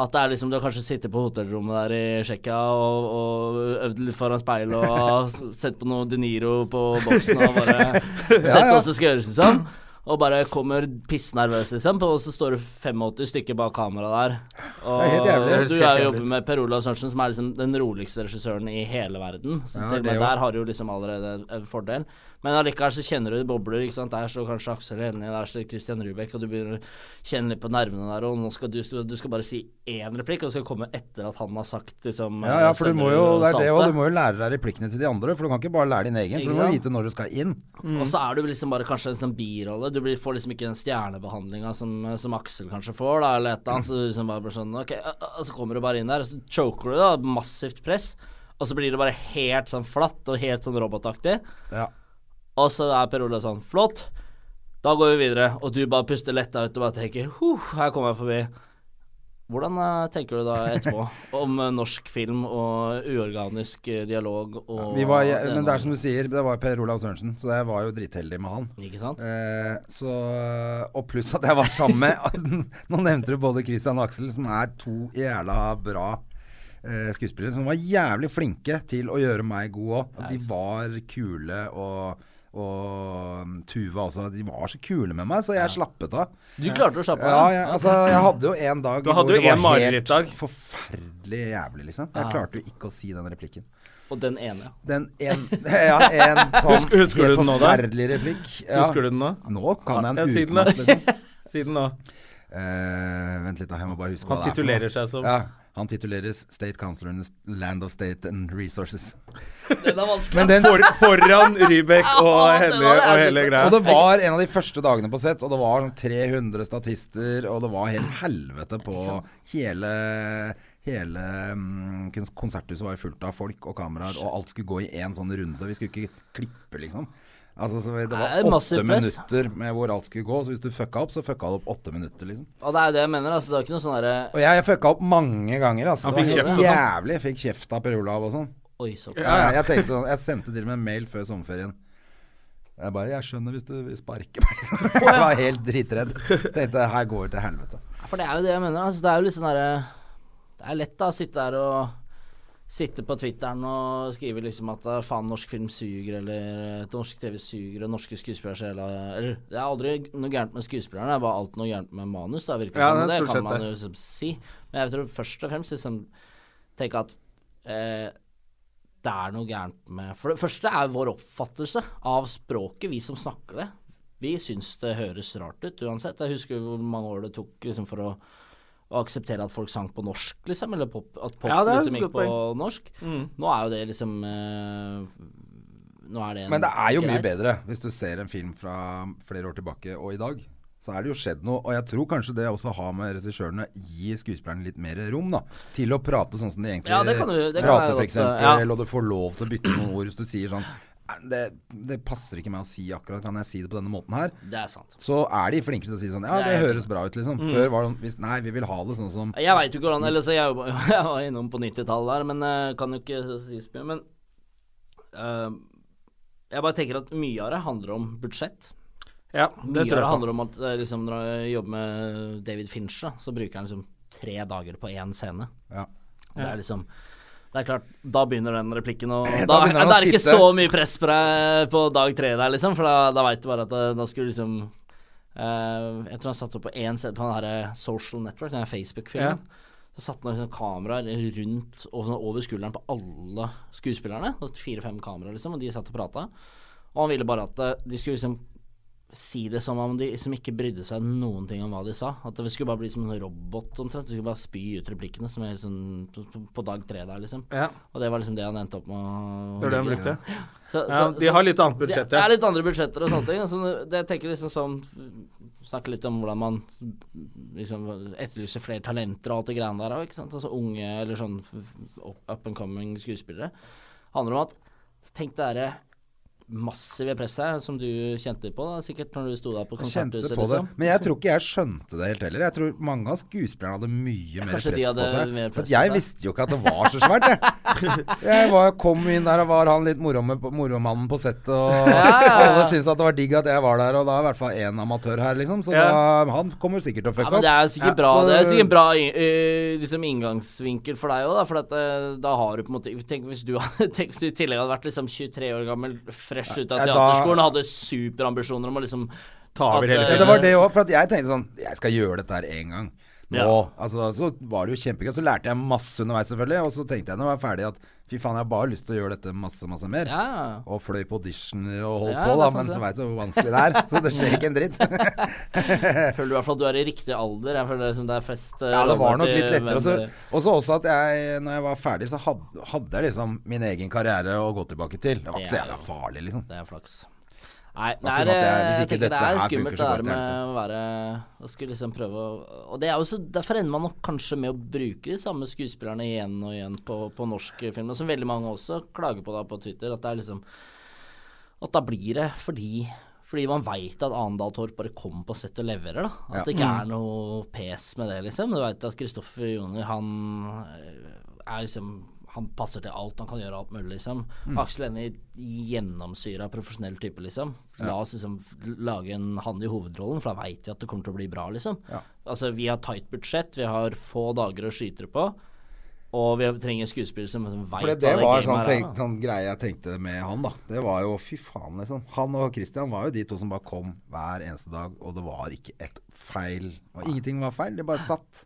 Speaker 3: At det er liksom, du har kanskje sittet på hotellrommet der i Tsjekkia og, og øvd litt foran speil og s- sett på noe De Niro på boksen og bare Sett
Speaker 2: ja.
Speaker 3: hvordan det skal gjøres, liksom. Og bare kommer pissnervøs, liksom. på- Og så står det 85 stykker bak kamera der. Og
Speaker 2: Det er helt jævlig.
Speaker 3: du
Speaker 1: Det høres helt
Speaker 3: har jo
Speaker 1: jævlig
Speaker 3: jobbet
Speaker 1: ut.
Speaker 3: med Per Olav Sørensen, som er liksom den roligste regissøren i hele verden. Så
Speaker 2: Ja,
Speaker 3: til
Speaker 2: det
Speaker 3: og med
Speaker 2: jo.
Speaker 3: der har du jo liksom allerede en- en fordel. Men allikevel så kjenner du bobler, ikke sant. Der står kanskje Aksel Hennie, der står Christian Rubek, og du begynner å kjenne litt på nervene der, og nå skal du, du skal bare si én replikk, og det skal komme etter at han har sagt liksom
Speaker 2: Ja, ja, for du må jo, det er det, og du
Speaker 3: saltet.
Speaker 2: må jo lære deg replikkene til de andre, for du kan ikke bare lære din egen, for du må
Speaker 3: Ikke sant?
Speaker 2: vite når du skal inn.
Speaker 3: Og så er du liksom bare kanskje en sånn birolle. Du blir, får liksom ikke den stjernebehandlinga som, som Aksel kanskje får, da, eller et eller annet. Så du liksom bare blir sånn Ok, øh, øh, og så kommer du bare inn der, og så choker du, da. Massivt press. Og så blir det bare helt sånn flatt og helt sånn robotaktig.
Speaker 2: Ja.
Speaker 3: Og så er Per Olav sånn Flott, da går vi videre. Og du bare puster letta ut og bare tenker Huh, her kommer jeg forbi. Hvordan eh, tenker du da etterpå om eh, norsk film og uorganisk eh, dialog og
Speaker 2: Vi var, jeg, men det er som du sier, det var Per Olav Sørensen, så jeg var jo dritheldig med han.
Speaker 3: Ikke sant?
Speaker 2: Eh, så, og pluss at jeg var sammen med Altså, Nå nevnte du både Christian og Aksel, som er to jævla bra eh, skuespillere. Som var jævlig flinke til å gjøre meg god òg. De var kule og og mm, Tuva også. De var så kule med meg, så jeg slappet av.
Speaker 3: Du klarte å slappe
Speaker 2: Ja,
Speaker 3: av?
Speaker 2: jeg, altså, jeg hadde jo en dag
Speaker 1: Du hadde
Speaker 2: hvor
Speaker 1: jo
Speaker 2: det var
Speaker 1: en marerittdag.
Speaker 2: helt Forferdelig jævlig, liksom. Jeg klarte jo ikke å si den replikken.
Speaker 3: Og den ene.
Speaker 2: Den en, ja, en sånn
Speaker 1: Husker- husker du
Speaker 2: helt
Speaker 1: den nå, da?
Speaker 2: forferdelig replikk. Ja.
Speaker 1: Husker du den nå?
Speaker 2: Nå kan jeg
Speaker 1: Ja,
Speaker 2: den
Speaker 1: si den,
Speaker 2: utenat,
Speaker 1: da.
Speaker 2: liksom.
Speaker 1: Siden nå.
Speaker 2: Eh, vent litt, da. Jeg må bare huske
Speaker 1: Han
Speaker 2: hva det er for noe.
Speaker 1: titulerer seg som
Speaker 2: Ja, han tituleres State Councilor in the Land of State and Resources.
Speaker 3: Den er vanskelig.
Speaker 2: Men den
Speaker 1: For, foran Rybek og
Speaker 3: Ja, det
Speaker 1: hele,
Speaker 3: var det
Speaker 1: og hele
Speaker 3: jævlig.
Speaker 2: og
Speaker 1: greia.
Speaker 2: det var en av de første dagene på sett, og det var sånn 300 statister, og det var helt helvete på hele Hele mm, kons- konserthuset var jo fullt av folk og kameraer, og alt skulle gå i én sånn runde. Vi skulle ikke klippe, liksom. Altså, så det
Speaker 3: Nei,
Speaker 2: var
Speaker 3: massiv
Speaker 2: åtte
Speaker 3: press.
Speaker 2: minutter med hvor alt skulle gå, så hvis du fucka opp, så fucka du opp åtte minutter, liksom.
Speaker 3: Og det er det jeg mener, altså. Det er ikke noe sånn derre
Speaker 2: Og jeg fucka opp mange ganger. Altså.
Speaker 1: Han
Speaker 2: Det
Speaker 1: fikk
Speaker 2: var helt
Speaker 1: kjeft og sånn.
Speaker 2: Jævlig. Fikk kjeft av Per Olav og sånn.
Speaker 3: Oi, så
Speaker 2: Ja, ja, jeg tenkte sånn Jeg sendte til og med en mail før sommerferien. Jeg bare 'Jeg skjønner hvis du vil sparke meg', liksom. Jeg var helt dritredd. Tenkte 'her går det til helvete'.
Speaker 3: For det er jo det jeg mener. Altså, det er jo litt sånn derre Det er lett, da, å sitte der og Sitte på Twitteren og skrive liksom at eh, faen, norsk film suger, eller eh, norsk TV suger, og norske skuespillere er så jævla Eller det er aldri noe gærent med skuespillerne, det er bare alt noe gærent med manus, da, virker det
Speaker 1: Ja,
Speaker 3: som.
Speaker 1: det er
Speaker 3: Og Det
Speaker 1: stort
Speaker 3: kan
Speaker 1: sett
Speaker 3: man
Speaker 1: det.
Speaker 3: jo liksom si. Men jeg tror først og fremst liksom tenke at eh, det er noe gærent med For det første er vår oppfattelse av språket, vi som snakker det. Vi syns det høres rart ut uansett. Jeg husker hvor mange år det tok liksom, for å, å akseptere at folk sang på norsk, liksom. Eller pop, at pop
Speaker 1: Ja, det er et
Speaker 3: liksom gikk
Speaker 1: godt
Speaker 3: på
Speaker 1: poeng.
Speaker 3: norsk. Nå er jo det liksom eh, Nå er det en
Speaker 2: Men det er jo mye
Speaker 3: grei-
Speaker 2: bedre hvis du ser en film fra flere år tilbake og i dag. Så er det jo skjedd noe, og jeg tror kanskje det også har med regissørene gi skuespillerne litt mer rom, da. Til å prate sånn som de egentlig
Speaker 3: Ja, det kan du- det kan jeg
Speaker 2: prater,
Speaker 3: godt,
Speaker 2: f.eks. eksempel
Speaker 3: ja.
Speaker 2: Eller du får lov til å bytte noen ord hvis du sier sånn det, det passer ikke meg å si akkurat, kan jeg si det på denne måten her?
Speaker 3: Det er sant.
Speaker 2: så er de flinkere til å si sånn Ja,
Speaker 3: Det er
Speaker 2: det
Speaker 3: helt
Speaker 2: høres bra ut, liksom.
Speaker 3: Mm.
Speaker 2: Før var det sånn hvis, Nei, vi vil ha det sånn som
Speaker 3: Jeg veit jo ikke hvordan Eller så jeg, jobba- jeg var innom på 90-tallet der, men eh, kan jo ikke si så mye. Men eh, jeg bare tenker at mye av det handler om budsjett.
Speaker 1: Ja,
Speaker 3: Mye
Speaker 1: det
Speaker 3: av
Speaker 1: tror jeg
Speaker 3: det
Speaker 1: på.
Speaker 3: handler om at eh, liksom, når jeg jobber med David Fincher, da, så bruker han liksom tre dager på én scene.
Speaker 2: Ja.
Speaker 3: Det er liksom Det er klart, da begynner den replikken, og da,
Speaker 2: Da begynner den
Speaker 3: det
Speaker 2: å
Speaker 3: er ikke
Speaker 2: sitte.
Speaker 3: så mye press på deg på dag tre der, liksom, for da, da veit du bare at eh, da skulle du liksom eh, Jeg tror han satte opp på én side på den her eh, Social Network, den her Facebook-filmen. Så satte han liksom kameraer rundt og sånn over skulderen på alle skuespillerne. Fire-fem kameraer, liksom, og de satt og prata. Og han ville bare at eh, de skulle liksom si det som om de som ikke brydde seg noen ting om hva de sa. At det skulle bare bli som en robot omtrent. De skulle bare spy ut replikkene som er liksom, på, på dag tre der, liksom.
Speaker 1: Ja,
Speaker 3: Og det var liksom det han endte opp med å
Speaker 1: det var det han brukte.
Speaker 3: Så,
Speaker 1: Ja,
Speaker 3: så-
Speaker 1: de har litt annet
Speaker 3: det,
Speaker 1: budsjett,
Speaker 3: det er
Speaker 1: ja.
Speaker 3: litt andre budsjetter og sånne ting. Altså, det jeg tenker liksom sånn Snakke litt om hvordan man liksom etterlyser flere talenter og alt det greiene der òg, ikke sant. Altså unge eller sånn up up and coming skuespillere. Handler om at Tenk det derre massive presset som du kjente på, da, sikkert når du sto der på
Speaker 2: Kjente
Speaker 3: konserthuset,
Speaker 2: på det.
Speaker 3: liksom.
Speaker 2: Men jeg tror ikke jeg skjønte det helt heller. Jeg tror mange av skuespillerne hadde mye mer
Speaker 3: Kanskje
Speaker 2: press
Speaker 3: de
Speaker 2: på
Speaker 3: hadde
Speaker 2: seg.
Speaker 3: mer press
Speaker 2: For
Speaker 3: på
Speaker 2: at jeg
Speaker 3: seg.
Speaker 2: visste jo ikke at det var så svært, jeg. Jeg var, kom inn der og var han litt moromme- moromannen på settet, og
Speaker 3: Ja, ja, ja.
Speaker 2: alle syntes at det var digg at jeg var der, og da er i hvert fall én amatør her, liksom. Så
Speaker 1: Ja.
Speaker 2: da, han kommer sikkert til å
Speaker 3: Ja,
Speaker 2: fucke
Speaker 3: men
Speaker 2: opp.
Speaker 3: det er jo sikkert
Speaker 2: Ja,
Speaker 3: bra,
Speaker 2: så-
Speaker 3: det er jo sikkert bra eh, liksom inngangsvinkel for deg òg, da. For at, eh, da har du på en måte Tenk hvis du, hadde- tenk hvis du i tillegg hadde vært liksom 23 år gammel, fresh ut av
Speaker 2: Ja, da-
Speaker 3: teaterskolen, hadde superambisjoner om å liksom
Speaker 1: Ta over
Speaker 3: at,
Speaker 1: hele
Speaker 3: eh,
Speaker 2: Ja, det var det òg, for at jeg tenkte sånn Jeg skal gjøre dette her én gang. Nå,
Speaker 3: Ja.
Speaker 2: altså, Så var det jo kjempegøy. Så lærte jeg masse underveis, selvfølgelig. Og så tenkte jeg når jeg var ferdig at fy faen, jeg har bare lyst til å gjøre dette masse, masse mer.
Speaker 3: Ja.
Speaker 2: Og fløy på auditioner og holdt
Speaker 3: Ja,
Speaker 2: på,
Speaker 3: det
Speaker 2: da.
Speaker 3: kan
Speaker 2: Men
Speaker 3: du
Speaker 2: så
Speaker 3: se.
Speaker 2: veit du hvor vanskelig det er. Så det skjer ikke en dritt.
Speaker 3: Jeg føler i hvert fall at du er i riktig alder. Jeg føler liksom det er flest eh,
Speaker 2: Ja, det var
Speaker 3: roller
Speaker 2: nok
Speaker 3: til
Speaker 2: litt lettere. altså. Og
Speaker 3: hvem
Speaker 2: så
Speaker 3: det-
Speaker 2: også, også at jeg, når jeg var ferdig, så hadde, hadde jeg liksom min egen karriere å gå tilbake til. Det var ikke så
Speaker 3: Det er
Speaker 2: jævla
Speaker 3: jo-
Speaker 2: farlig, liksom.
Speaker 3: Det er flaks. Nei,
Speaker 2: var
Speaker 3: nei
Speaker 2: ikke
Speaker 3: det,
Speaker 2: sånn at jeg- hvis
Speaker 3: jeg
Speaker 2: ikke
Speaker 3: tenker det
Speaker 2: dette
Speaker 3: er
Speaker 2: her funker,
Speaker 3: skummelt det
Speaker 2: så
Speaker 3: der
Speaker 2: går det
Speaker 3: med
Speaker 2: til
Speaker 3: å være Å skulle liksom prøve å Og det er jo så Derfor ender man nok kanskje med å bruke de samme skuespillerne igjen og igjen på, på norsk film, og som veldig mange også klager på da på Twitter, at det er liksom At da blir det fordi fordi man veit at Arendal Torp bare kommer på sett og leverer, da. At det ikke
Speaker 2: Mm.
Speaker 3: er noe pes med det, liksom. Du veit at Kristoffer Joner, han eh, er liksom Han passer til alt, han kan gjøre alt mulig, liksom.
Speaker 2: Mm.
Speaker 3: Aksel Hennie gjennomsyra profesjonell type, liksom. La oss liksom f- lage en han i hovedrollen, for da veit vi at det kommer til å bli bra, liksom. Altså, vi har tight budsjett, vi har få dager å skyte det på. Og vi trenger skuespillere som veit hva
Speaker 2: For det,
Speaker 3: det
Speaker 2: det var
Speaker 3: gamet
Speaker 2: sånn,
Speaker 3: her er,
Speaker 2: tenk,
Speaker 3: da.
Speaker 2: sånn greie jeg tenkte med han, da. Det var jo fy faen, liksom. Han og Christian var jo de to som bare kom hver eneste dag, og det var ikke et feil. Og ingenting var feil, de bare satt.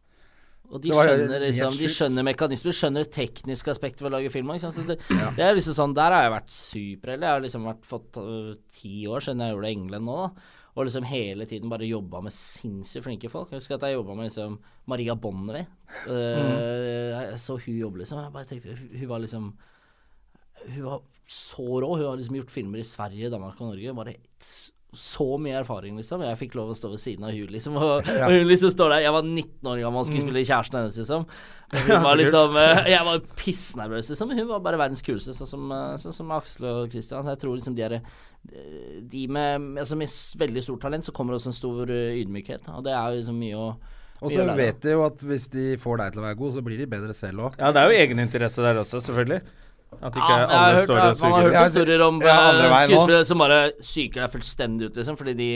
Speaker 3: Og de
Speaker 2: Det var jo
Speaker 3: skjønner,
Speaker 2: helt
Speaker 3: liksom, de
Speaker 2: sjukt.
Speaker 3: skjønner mekanismer, de skjønner det tekniske aspektet ved å lage film. Ikke sant? Så det, det er liksom sånn, der har jeg vært superheldig. Jeg har liksom vært fått øh, ti år siden jeg gjorde det i England nå, da. Og liksom hele tiden bare jobba med sinnssykt flinke folk. Jeg husker at jeg jobba med liksom Maria Bonnevie.
Speaker 2: Mhm.
Speaker 3: Øh, jeg så hun jobbe, liksom. Jeg bare tenkte, hun, hun var liksom hun var så rå. Hun har liksom gjort filmer i Sverige, Danmark og Norge. Bare s- så mye erfaring, liksom. Jeg fikk lov å stå ved siden av hun, liksom. Og, og hun liksom står der. Jeg var 19 år gammel og
Speaker 2: Mm.
Speaker 3: skulle spille kjæresten hennes, liksom. Og Hun var liksom eh, Jeg var pissnervøs, liksom. Hun var bare verdens kuleste, sånn som, eh, sånn som Aksel og Christian. Så jeg tror liksom de er eh, De med, altså med s- veldig stort talent, så kommer også en stor eh, ydmykhet. Og det er jo liksom mye å
Speaker 2: Og
Speaker 3: mye
Speaker 2: så
Speaker 3: å lære.
Speaker 2: vet de jo at hvis de får deg til å være god, så blir de bedre selv òg.
Speaker 1: Ja, det er jo egeninteresse der også, selvfølgelig. At ikke
Speaker 3: Ja, men jeg har
Speaker 1: alle
Speaker 3: hørt-
Speaker 1: står og
Speaker 3: Man har
Speaker 1: suger.
Speaker 2: Ja,
Speaker 3: hørt
Speaker 2: det-
Speaker 3: historier om
Speaker 2: ja, andre
Speaker 3: eh,
Speaker 2: veien nå.
Speaker 3: skuespillere som bare psyker deg fullstendig ut, liksom, fordi de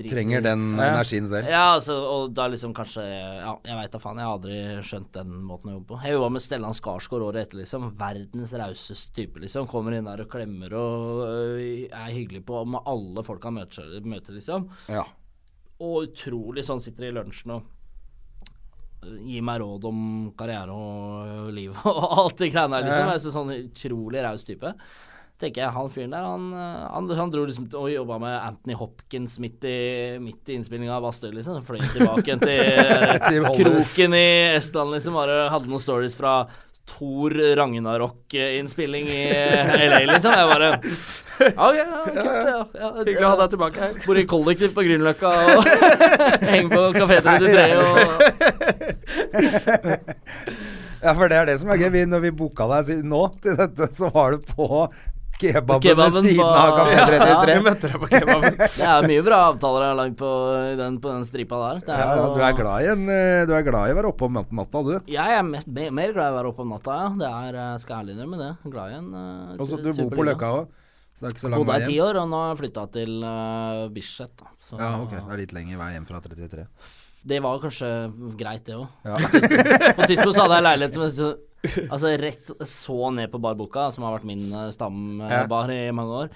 Speaker 3: driter
Speaker 2: Trenger den energien selv.
Speaker 3: Ja, altså, og da liksom kanskje Ja, jeg veit da faen. Jeg har aldri skjønt den måten å jobbe på. Jeg jobba med Stellan Skarsgård året etter, liksom. Verdens rauseste type, liksom. Kommer inn der og klemmer og øh, er hyggelig på med alle folk han møter, møter liksom.
Speaker 2: Ja.
Speaker 3: Og utrolig sånn sitter i lunsjen og øh, gir meg råd om karriere og liv og alt det greiene der, liksom. Jeg synes sånn utrolig raus type. Tenker jeg, Han fyren der, han, øh, han, han dro liksom og jobba med Anthony Hopkins midt i, midt i innspillinga av Bastøy, liksom. Så fløy han tilbake igjen til
Speaker 2: Til
Speaker 3: øh,
Speaker 2: Hollywood.
Speaker 3: kroken i Estland, liksom. Bare hadde noen stories fra Thor Ragnarok-innspilling i LA, liksom. Jeg bare Ja, ok, ja, kult, ja, ja.
Speaker 1: Hyggelig å ha deg tilbake her.
Speaker 3: Bor i kollektiv på Grünerløkka og henger på Kafé 33 og
Speaker 2: ja, for det er det som er gøy. Vi, når vi booka deg si- nå til dette, så var du på kebaben,
Speaker 3: Kebaben
Speaker 2: ved siden
Speaker 3: på-
Speaker 2: av Kafé
Speaker 3: Ja.
Speaker 2: 33.
Speaker 1: Jeg møtte deg på kebaben.
Speaker 3: Det er mye bra avtaler jeg har lagd på den, på den stripa der. Det
Speaker 2: Ja, ja,
Speaker 3: jo-
Speaker 2: du, er glad i en, eh, du er glad i å være oppe om natta, du.
Speaker 3: Jeg er mer, mer glad i å være oppe om natta, ja. Det er, jeg skal ærlig innrømme det. Glad i en uh,
Speaker 2: Og så du bor på Løkka òg, så det er ikke så lang
Speaker 3: Bodde
Speaker 2: vei
Speaker 3: her i ti
Speaker 2: hjem.
Speaker 3: år, og nå har jeg flytta til eh, Bislett. da. Så
Speaker 2: Ja, ok. Det er litt lenger vei hjem fra 33.
Speaker 3: det var kanskje greit, det òg.
Speaker 2: Ja.
Speaker 3: På et tidspunkt så hadde jeg leilighet som jeg så- Altså rett så ned på barboka, som har vært min eh,
Speaker 1: Ja.
Speaker 3: stambar i mange år.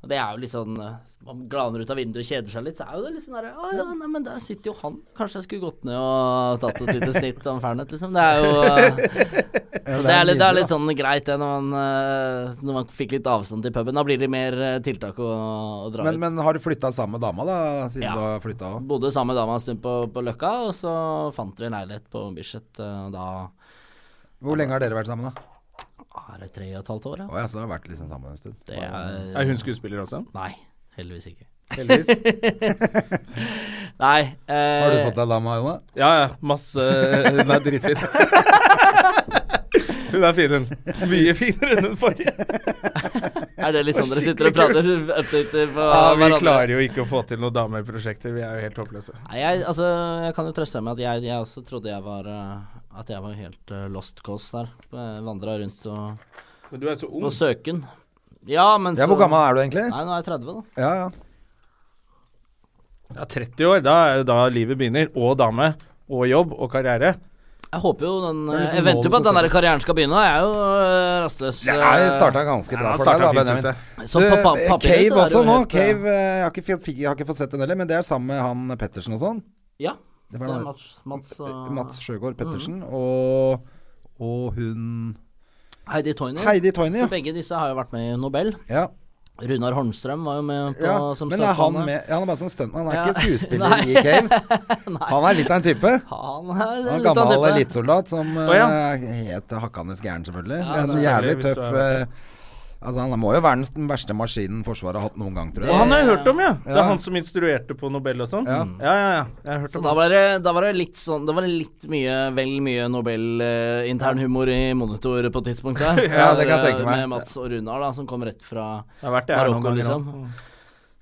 Speaker 3: Og det er jo litt sånn eh, Man glaner ut av vinduet og kjeder seg litt, så er jo det litt sånn derre Å ja, nei, men der sitter jo han. Kanskje jeg skulle gått ned og tatt et lite snitt om Fernet, liksom. Det er jo eh, det, er litt, det er litt sånn greit, det, når man, eh, når man fikk litt avstand til puben. Da blir det mer eh, tiltak å, å dra ut.
Speaker 2: Men, men har du flytta sammen med dama, da? Siden
Speaker 3: Ja.
Speaker 2: du har flytta òg?
Speaker 3: Bodde sammen med dama en stund på, på Løkka, og så fant vi en leilighet på Bislett. eh, og Da
Speaker 2: Hvor lenge har dere vært sammen, da?
Speaker 3: ah, er det tre og et halvt år, ja.
Speaker 2: Å ja, så dere har vært liksom sammen en stund.
Speaker 3: Det er
Speaker 1: Er hun skuespiller også?
Speaker 3: Nei, heldigvis ikke.
Speaker 1: Heldigvis.
Speaker 3: Nei. Eh,
Speaker 2: Har du fått deg dama, Jone?
Speaker 1: Ja, ja. Masse Hun er dritfin. Hun er fin, hun. Mye finere enn den forrige.
Speaker 3: Er det litt sånn dere sitter og prater updater på
Speaker 1: Ja, vi
Speaker 3: hverandre?
Speaker 1: klarer jo ikke å få til noen dameprosjekter. Vi er jo helt håpløse.
Speaker 3: Nei, jeg, altså, jeg kan jo trøste deg med at jeg, jeg også trodde jeg var eh, At jeg var helt eh, lost cause der. Vandra rundt og
Speaker 1: Men du er så ung.
Speaker 3: på søken. Ja, men
Speaker 2: Ja,
Speaker 3: så
Speaker 2: hvor gammel er du egentlig?
Speaker 3: Nei, nå er jeg 30, da.
Speaker 2: Ja, ja.
Speaker 1: Ja, 30 år, da er det da livet begynner. Og dame. Og jobb. Og karriere.
Speaker 3: Jeg håper jo den
Speaker 2: er
Speaker 3: eh,
Speaker 2: liksom
Speaker 3: Jeg venter jo på
Speaker 2: målet
Speaker 3: at
Speaker 2: som
Speaker 3: den der karrieren skal begynne. da. Jeg er jo eh, rastløs.
Speaker 2: Det er- det
Speaker 3: eh,
Speaker 2: starta ganske bra
Speaker 1: Ja,
Speaker 2: for deg,
Speaker 1: starta
Speaker 2: da,
Speaker 1: fint,
Speaker 2: Benjamin.
Speaker 1: synes jeg.
Speaker 3: så på pa-
Speaker 2: eh,
Speaker 3: papiret så er det
Speaker 2: Cave
Speaker 3: jo
Speaker 2: også nå.
Speaker 3: helt, eh,
Speaker 2: Cave, eh, jeg, har ikke, fikk- jeg har ikke fått sett den heller, men det er sammen med han Pettersen og sånn.
Speaker 3: Ja.
Speaker 2: Det
Speaker 3: Det
Speaker 2: var
Speaker 3: er
Speaker 2: da-
Speaker 3: Mats, Mats eh, og
Speaker 2: Mats Sjøgaard Pettersen og, og hun
Speaker 3: Heidi Toyner.
Speaker 2: Heidi Toyny.
Speaker 3: Så begge disse har jo vært med i Nobel.
Speaker 2: Ja.
Speaker 3: Runar Holmstrøm var jo med på,
Speaker 2: ja.
Speaker 3: som
Speaker 2: Men er han
Speaker 3: støttebane.
Speaker 2: med ja, Han er bare som stuntmann, han er
Speaker 3: Ja.
Speaker 2: ikke skuespiller i Cave. Han er litt av en type.
Speaker 3: Han er,
Speaker 2: Han er
Speaker 3: litt av
Speaker 2: gammel
Speaker 3: type.
Speaker 2: elitesoldat som eh,
Speaker 1: Å, ja.
Speaker 2: er helt hakkende gæren, selvfølgelig.
Speaker 3: Ja,
Speaker 2: Men
Speaker 1: selvfølgelig,
Speaker 2: jævlig
Speaker 1: hvis
Speaker 2: tøff
Speaker 1: du er-
Speaker 2: eh, Altså, Han må jo være den s- den verste maskinen Forsvaret har hatt noen gang, tror
Speaker 1: Og
Speaker 2: jeg.
Speaker 1: han har jeg hørt om, ja. Det
Speaker 2: Ja.
Speaker 1: er han som instruerte på Nobel og sånn. Ja. ja, ja, Jeg har hørt
Speaker 2: Mm.
Speaker 3: Så
Speaker 1: om
Speaker 3: da
Speaker 1: han.
Speaker 3: var, det, da var det litt sånn Da var det litt mye, vel mye Nobel-internhumor i monitor på et tidspunkt der.
Speaker 2: Ja, det kan jeg
Speaker 3: Eh,
Speaker 2: tenke meg.
Speaker 3: Med Mats og Runar, da, som kom rett fra
Speaker 1: Det har vært det her noen
Speaker 3: Marokko,
Speaker 1: ganger.
Speaker 3: liksom.
Speaker 2: Mm.
Speaker 1: nå.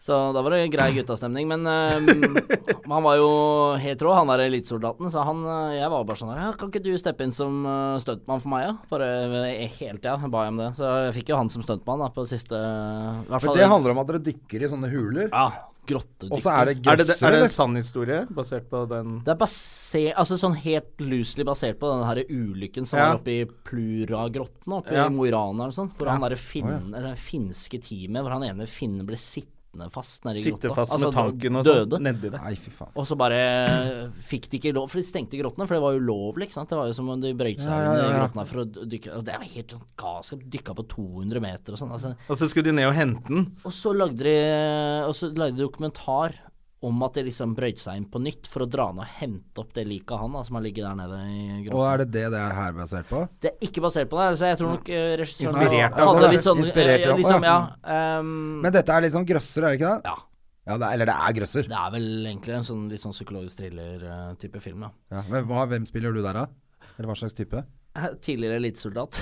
Speaker 3: Så da var det grei guttastemning. Men eh, han var jo helt rå, han der elitesoldaten. Så han eh, Jeg var bare sånn her «Ja, Kan ikke du steppe inn som eh, stuntmann for meg, da? Bare eh, helt, ja. Ba jeg om det. Så jeg fikk jo han som stuntmann, da, på siste i hvert
Speaker 2: For
Speaker 3: fall-
Speaker 2: det handler om at dere dykker i sånne huler,
Speaker 3: Ja. Grottedykk.
Speaker 2: og så er det
Speaker 1: Er, det,
Speaker 2: grøsser,
Speaker 1: er det
Speaker 2: eller?
Speaker 1: en sann historie basert på den
Speaker 3: Det er basert, altså sånn helt loosely basert på den her ulykken som
Speaker 1: Ja.
Speaker 3: var oppe i Pluragrotten, oppe
Speaker 1: Ja.
Speaker 3: i Mo i Rana eller sånt, hvor han derre fin, eller finske teamet, hvor han ene finnen ble sittende fast nede i grotta.
Speaker 1: Sitte fast med
Speaker 3: Altså,
Speaker 1: tanken og
Speaker 3: døde.
Speaker 1: sånn nedi det.
Speaker 2: Nei, fy faen.
Speaker 3: Og så bare fikk de ikke lov, for de stengte grottene, for det var ulovlig, ikke sant. Det var jo som om de brøyt seg
Speaker 2: ja,
Speaker 3: inn i
Speaker 2: ja.
Speaker 3: grottene for å dykke Og det er jo helt sånn galskap. Dykka på 200 meter og sånn. Altså,
Speaker 1: Og så skulle de ned og hente den.
Speaker 3: og så lagde de Og så lagde de dokumentar om at de liksom brøyte seg inn på nytt for å dra ned og hente opp det liket av han da, som har ligget der nede i
Speaker 2: Og
Speaker 3: grotta.
Speaker 2: er det det det er her basert på?
Speaker 3: Det er ikke basert på det, her, så jeg tror nok eh, regissøren
Speaker 1: Inspirert av
Speaker 3: hadde
Speaker 2: det.
Speaker 3: litt sånn
Speaker 2: Inspirert
Speaker 3: eh,
Speaker 2: av-
Speaker 3: liksom, ja,
Speaker 2: å,
Speaker 3: ehm,
Speaker 2: Men dette er liksom grøsser, er det ikke det?
Speaker 3: ja.
Speaker 2: Ja, det er, Eller det er grøsser.
Speaker 3: Det er vel egentlig en sånn litt sånn psykologisk thriller-type film, da.
Speaker 2: Ja. Men hva, hvem spiller du der, da? Eller hva slags type?
Speaker 3: Eh, Tidligere elitesoldat.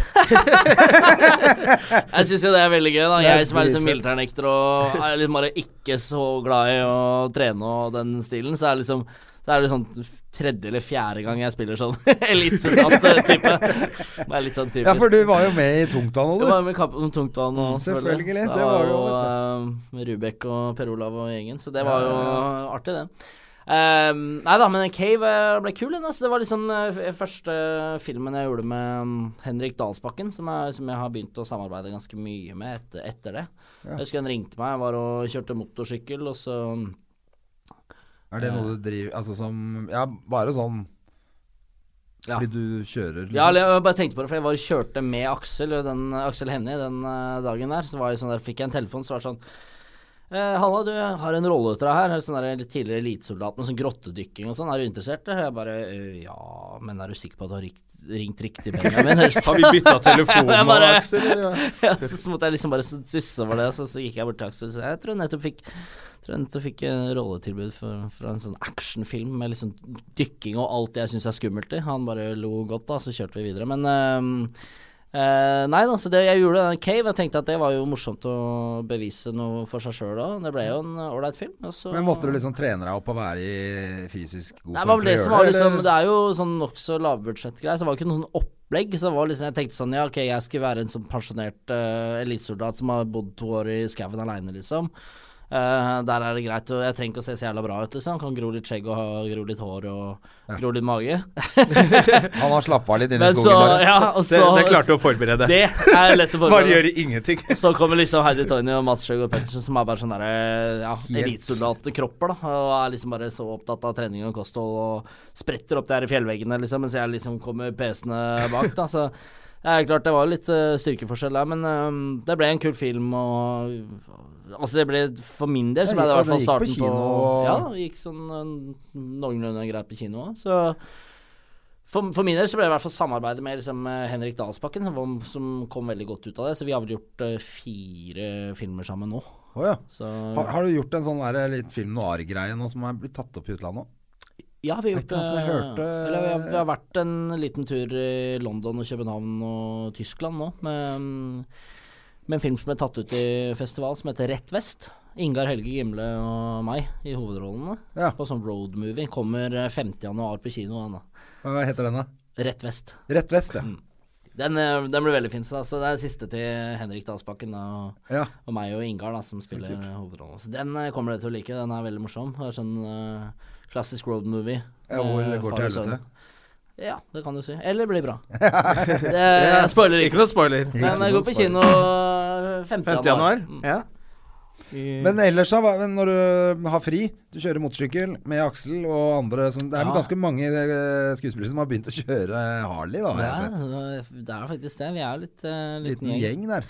Speaker 3: jeg syns jo det er veldig gøy, da.
Speaker 2: Det er
Speaker 3: Jeg som er liksom
Speaker 2: dritfett.
Speaker 3: militærnekter og er liksom bare ikke så glad i å trene og den stilen, så er det liksom så er det sånn tredje eller fjerde gang jeg spiller sånn elitesoldat-type. Det er litt sånn typisk.
Speaker 2: Ja, for du var jo med i Tungtvann,
Speaker 3: det
Speaker 2: du.
Speaker 3: var med kampen om tungtvann og
Speaker 2: Mm, Selvfølgelig,
Speaker 3: Da
Speaker 2: det var jo,
Speaker 3: eh, Rubek og Per Olav og gjengen, så det var jo artig, det. Um, nei da, men Cave eh, ble kul. den, Altså. Det var liksom eh, f- første filmen jeg gjorde med mm, Henrik Dalsbakken, som, er, som jeg har begynt å samarbeide ganske mye med etter, etter det. Jeg husker han ringte meg, jeg var og kjørte motorsykkel, og så mm,
Speaker 2: Er det noe du driver Altså som Ja, bare sånn
Speaker 3: Ja.
Speaker 2: Fordi du kjører
Speaker 3: Ja,
Speaker 2: liksom.
Speaker 3: eller jeg bare tenkte på det, for jeg var og kjørte med Aksel og den, Aksel Hennie den eh, dagen der. Så var jeg sånn der, fikk jeg en telefon som var det sånn eh, 'Halla, du har en rolle til deg her. Sånn der tidligere elitesoldat med sånn grottedykking og sånn. Er du interessert?' Og jeg bare «Eh, 'Ja, men er du sikker på at du har rikt, ringt riktig, Benjamin?' Helst?»
Speaker 1: Har vi bytta telefon
Speaker 3: Jeg
Speaker 1: nå,
Speaker 3: bare-
Speaker 1: Aksel? eller?
Speaker 3: ja, så, så måtte jeg liksom bare så- susse over det, og så, så gikk jeg bort til Aksel og sa 'Jeg tror jeg nettopp fikk jeg tror jeg nettopp fikk eh, rolletilbud for- fra en sånn actionfilm med liksom dykking og alt jeg syns er skummelt i. Han bare lo godt, da, så kjørte vi videre. Men ehm, eh, nei da, så det jeg gjorde den Cave, jeg tenkte at det var jo morsomt å bevise noe for seg sjøl òg. Det ble jo en eh, ålreit film. Og så,
Speaker 2: Men måtte du liksom trene deg opp og være i fysisk god
Speaker 3: Nei,
Speaker 2: form
Speaker 3: men
Speaker 2: for å
Speaker 3: det, som
Speaker 2: gjøre
Speaker 3: var
Speaker 2: det?
Speaker 3: liksom,
Speaker 2: eller?
Speaker 3: det er jo sånn nokså lavbudsjettgreier, så det var ikke noe sånn opplegg. Så det var liksom, jeg tenkte sånn, eh, ja ok, jeg skal være en sånn pensjonert uh, elitesoldat som har bodd to år i skauen aleine, liksom. Eh, der er det greit. Og jeg trenger ikke å se så jævla bra ut, liksom. Kan gro litt skjegg og ha, gro litt hår og gro litt mage.
Speaker 2: Han har slappa litt inne i
Speaker 3: Men
Speaker 2: skogen.
Speaker 3: så,
Speaker 2: bare.
Speaker 3: ja, og
Speaker 1: Det,
Speaker 3: så
Speaker 1: det klarte du å forberede.
Speaker 3: Det er lett å
Speaker 1: Bare
Speaker 3: forberede.
Speaker 1: gjøre ingenting.
Speaker 3: Så kommer liksom Heidi Tony og Mats Sjøgaard Pettersen, som er bare sånne der, ja, elitesoldatkropper. da, Og er liksom bare så opptatt av trening og kosthold og spretter opp der i fjellveggene, liksom, mens jeg liksom kommer pesende bak. da, så det er klart det var jo litt eh, styrkeforskjell der, men eh, det ble en kul film og Altså, det ble for min del så ble det i
Speaker 2: Ja, det
Speaker 3: hvert fall
Speaker 2: gikk på
Speaker 3: starten på,
Speaker 2: kino og-
Speaker 3: Ja, det gikk sånn eh, noenlunde greit på kino òg, så for, for min del så ble det i hvert fall samarbeidet med liksom, eh, Henrik Dalsbakken, som, var- som kom veldig godt ut av det. Så vi har vel gjort eh, fire filmer sammen nå.
Speaker 2: Å, ja.
Speaker 3: Så
Speaker 2: Har, har du gjort en sånn der, litt film noir-greie nå som er blitt tatt opp i utlandet?
Speaker 3: ja, vi har
Speaker 2: Vet du hva som jeg
Speaker 3: eh,
Speaker 2: hørte?
Speaker 3: Eller vi har, vi har vært en liten tur i London og København og Tyskland nå, med, mm, med en film som ble tatt ut i festival, som heter Rett Vest. Ingar Helge Gimle og meg i hovedrollene.
Speaker 2: Ja.
Speaker 3: På sånn roadmovie. Kommer eh, 5. januar på kino. den da.
Speaker 2: Hva heter den, da?
Speaker 3: Rett Vest.
Speaker 2: Rett vest, ja.
Speaker 3: Den, eh, den ble veldig fin. Så da. Så det er siste til Henrik Dalsbakken da, og,
Speaker 2: Ja.
Speaker 3: og meg og Ingar, da, som spiller hovedrollen. Så den eh, kommer dere til å like. Den er veldig morsom. Det er sånn eh, klassisk road movie.
Speaker 2: Ja, hvor
Speaker 3: Eh,
Speaker 2: det går
Speaker 3: far
Speaker 2: til
Speaker 3: og sønn.
Speaker 2: helvete.
Speaker 3: Ja, det kan du si. Eller blir bra. det, jeg spoiler
Speaker 1: Ikke
Speaker 3: ikke.
Speaker 1: noe spoiler.
Speaker 3: Men jeg går på kino eh, 5.
Speaker 1: 5.
Speaker 3: januar.
Speaker 1: januar. Ja.
Speaker 2: Men ellers, da, hva- men når du har fri, du kjører motorsykkel med Aksel og andre som Det er vel
Speaker 3: Ja.
Speaker 2: ganske mange eh, skuespillere som har begynt å kjøre eh, Harley, da, har
Speaker 3: Ja,
Speaker 2: jeg sett.
Speaker 3: det er faktisk det. Vi er litt eh,
Speaker 2: Liten gjeng der.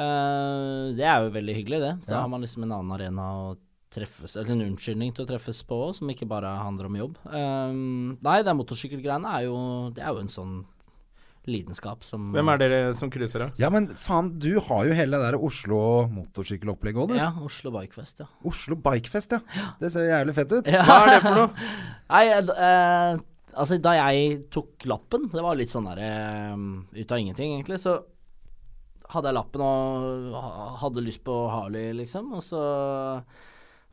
Speaker 3: Eh, det er jo veldig hyggelig, det. Så
Speaker 2: Ja.
Speaker 3: har man liksom en annen arena å treffes Eller en unnskyldning til å treffes på også, som ikke bare handler om jobb. Eh, nei, det er motorsykkelgreiene er jo Det er jo en sånn lidenskap som
Speaker 1: Hvem er dere som cruiser, da?
Speaker 2: Ja, men faen, du har jo hele det der Oslo motorsykkelopplegget òg, du.
Speaker 3: Ja, Oslo Bikefest, ja.
Speaker 2: Oslo Bikefest, ja. Det ser jo jævlig fett ut.
Speaker 3: Hva er det for noe? nei, eh, altså da jeg tok lappen, det var litt sånn der eh, ut av ingenting, egentlig, så hadde jeg lappen og ha- hadde lyst på Harley, liksom, og så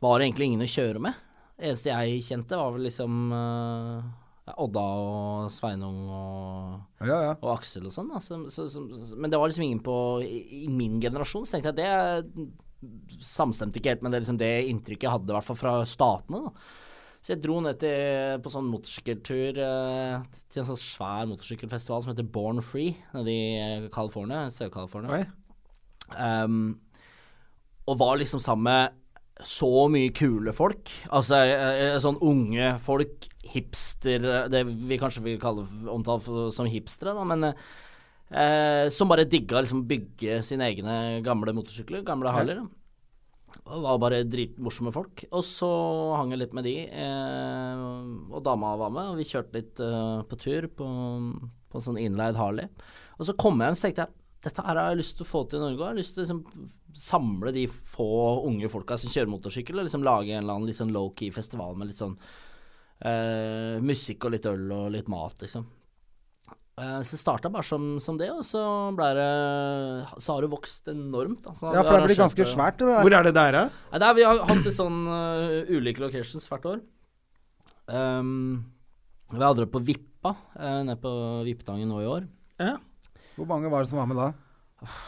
Speaker 3: var det egentlig ingen å kjøre med. Eneste jeg kjente, var vel liksom eh, Odda og Sveinung og
Speaker 2: Ja, ja.
Speaker 3: og Aksel og sånn. Da. Så, så, så, men det var liksom ingen på i, I min generasjon så tenkte jeg at det samstemte ikke helt med det, liksom det inntrykket jeg hadde, i hvert fall fra statene. da. Så jeg dro ned til, på sånn motorsykkeltur eh, til en sånn svær motorsykkelfestival som heter Born Free nede i eh, California, Sør-California. Um, og var liksom sammen med så mye kule folk. Altså eh, eh, sånn unge folk, hipster eh, Det vi kanskje vil kalle omtale for, som hipstere, da, men eh, eh, Som bare digga liksom bygge sine egne gamle motorsykler, gamle Harleyer. Og var bare dritmorsomme folk. Og så hang jeg litt med de, eh, og dama var med, og vi kjørte litt eh, på tur på, på en sånn innleid Harley. Og så kom jeg hjem, så tenkte jeg dette her har jeg lyst til å få til i Norge. Jeg har lyst til å liksom, samle de få unge folka som kjører motorsykkel, og liksom lage en eller annen litt sånn low-key festival med litt sånn eh, musikk og litt øl og litt mat, liksom. Eh, Så starta bare som, som det, og så ble det Så har det vokst enormt. Da. Så
Speaker 2: Ja, for
Speaker 3: vi
Speaker 2: det blir
Speaker 3: arrangerte-
Speaker 2: ganske svært, det der.
Speaker 1: Hvor er det der, da?
Speaker 3: Nei, det er, vi har hatt litt sånn øh, ulike locations hvert år. Ehm, vi hadde det på Vippa, eh, nede på Vippetangen nå i år.
Speaker 2: Hvor mange var det som var med da?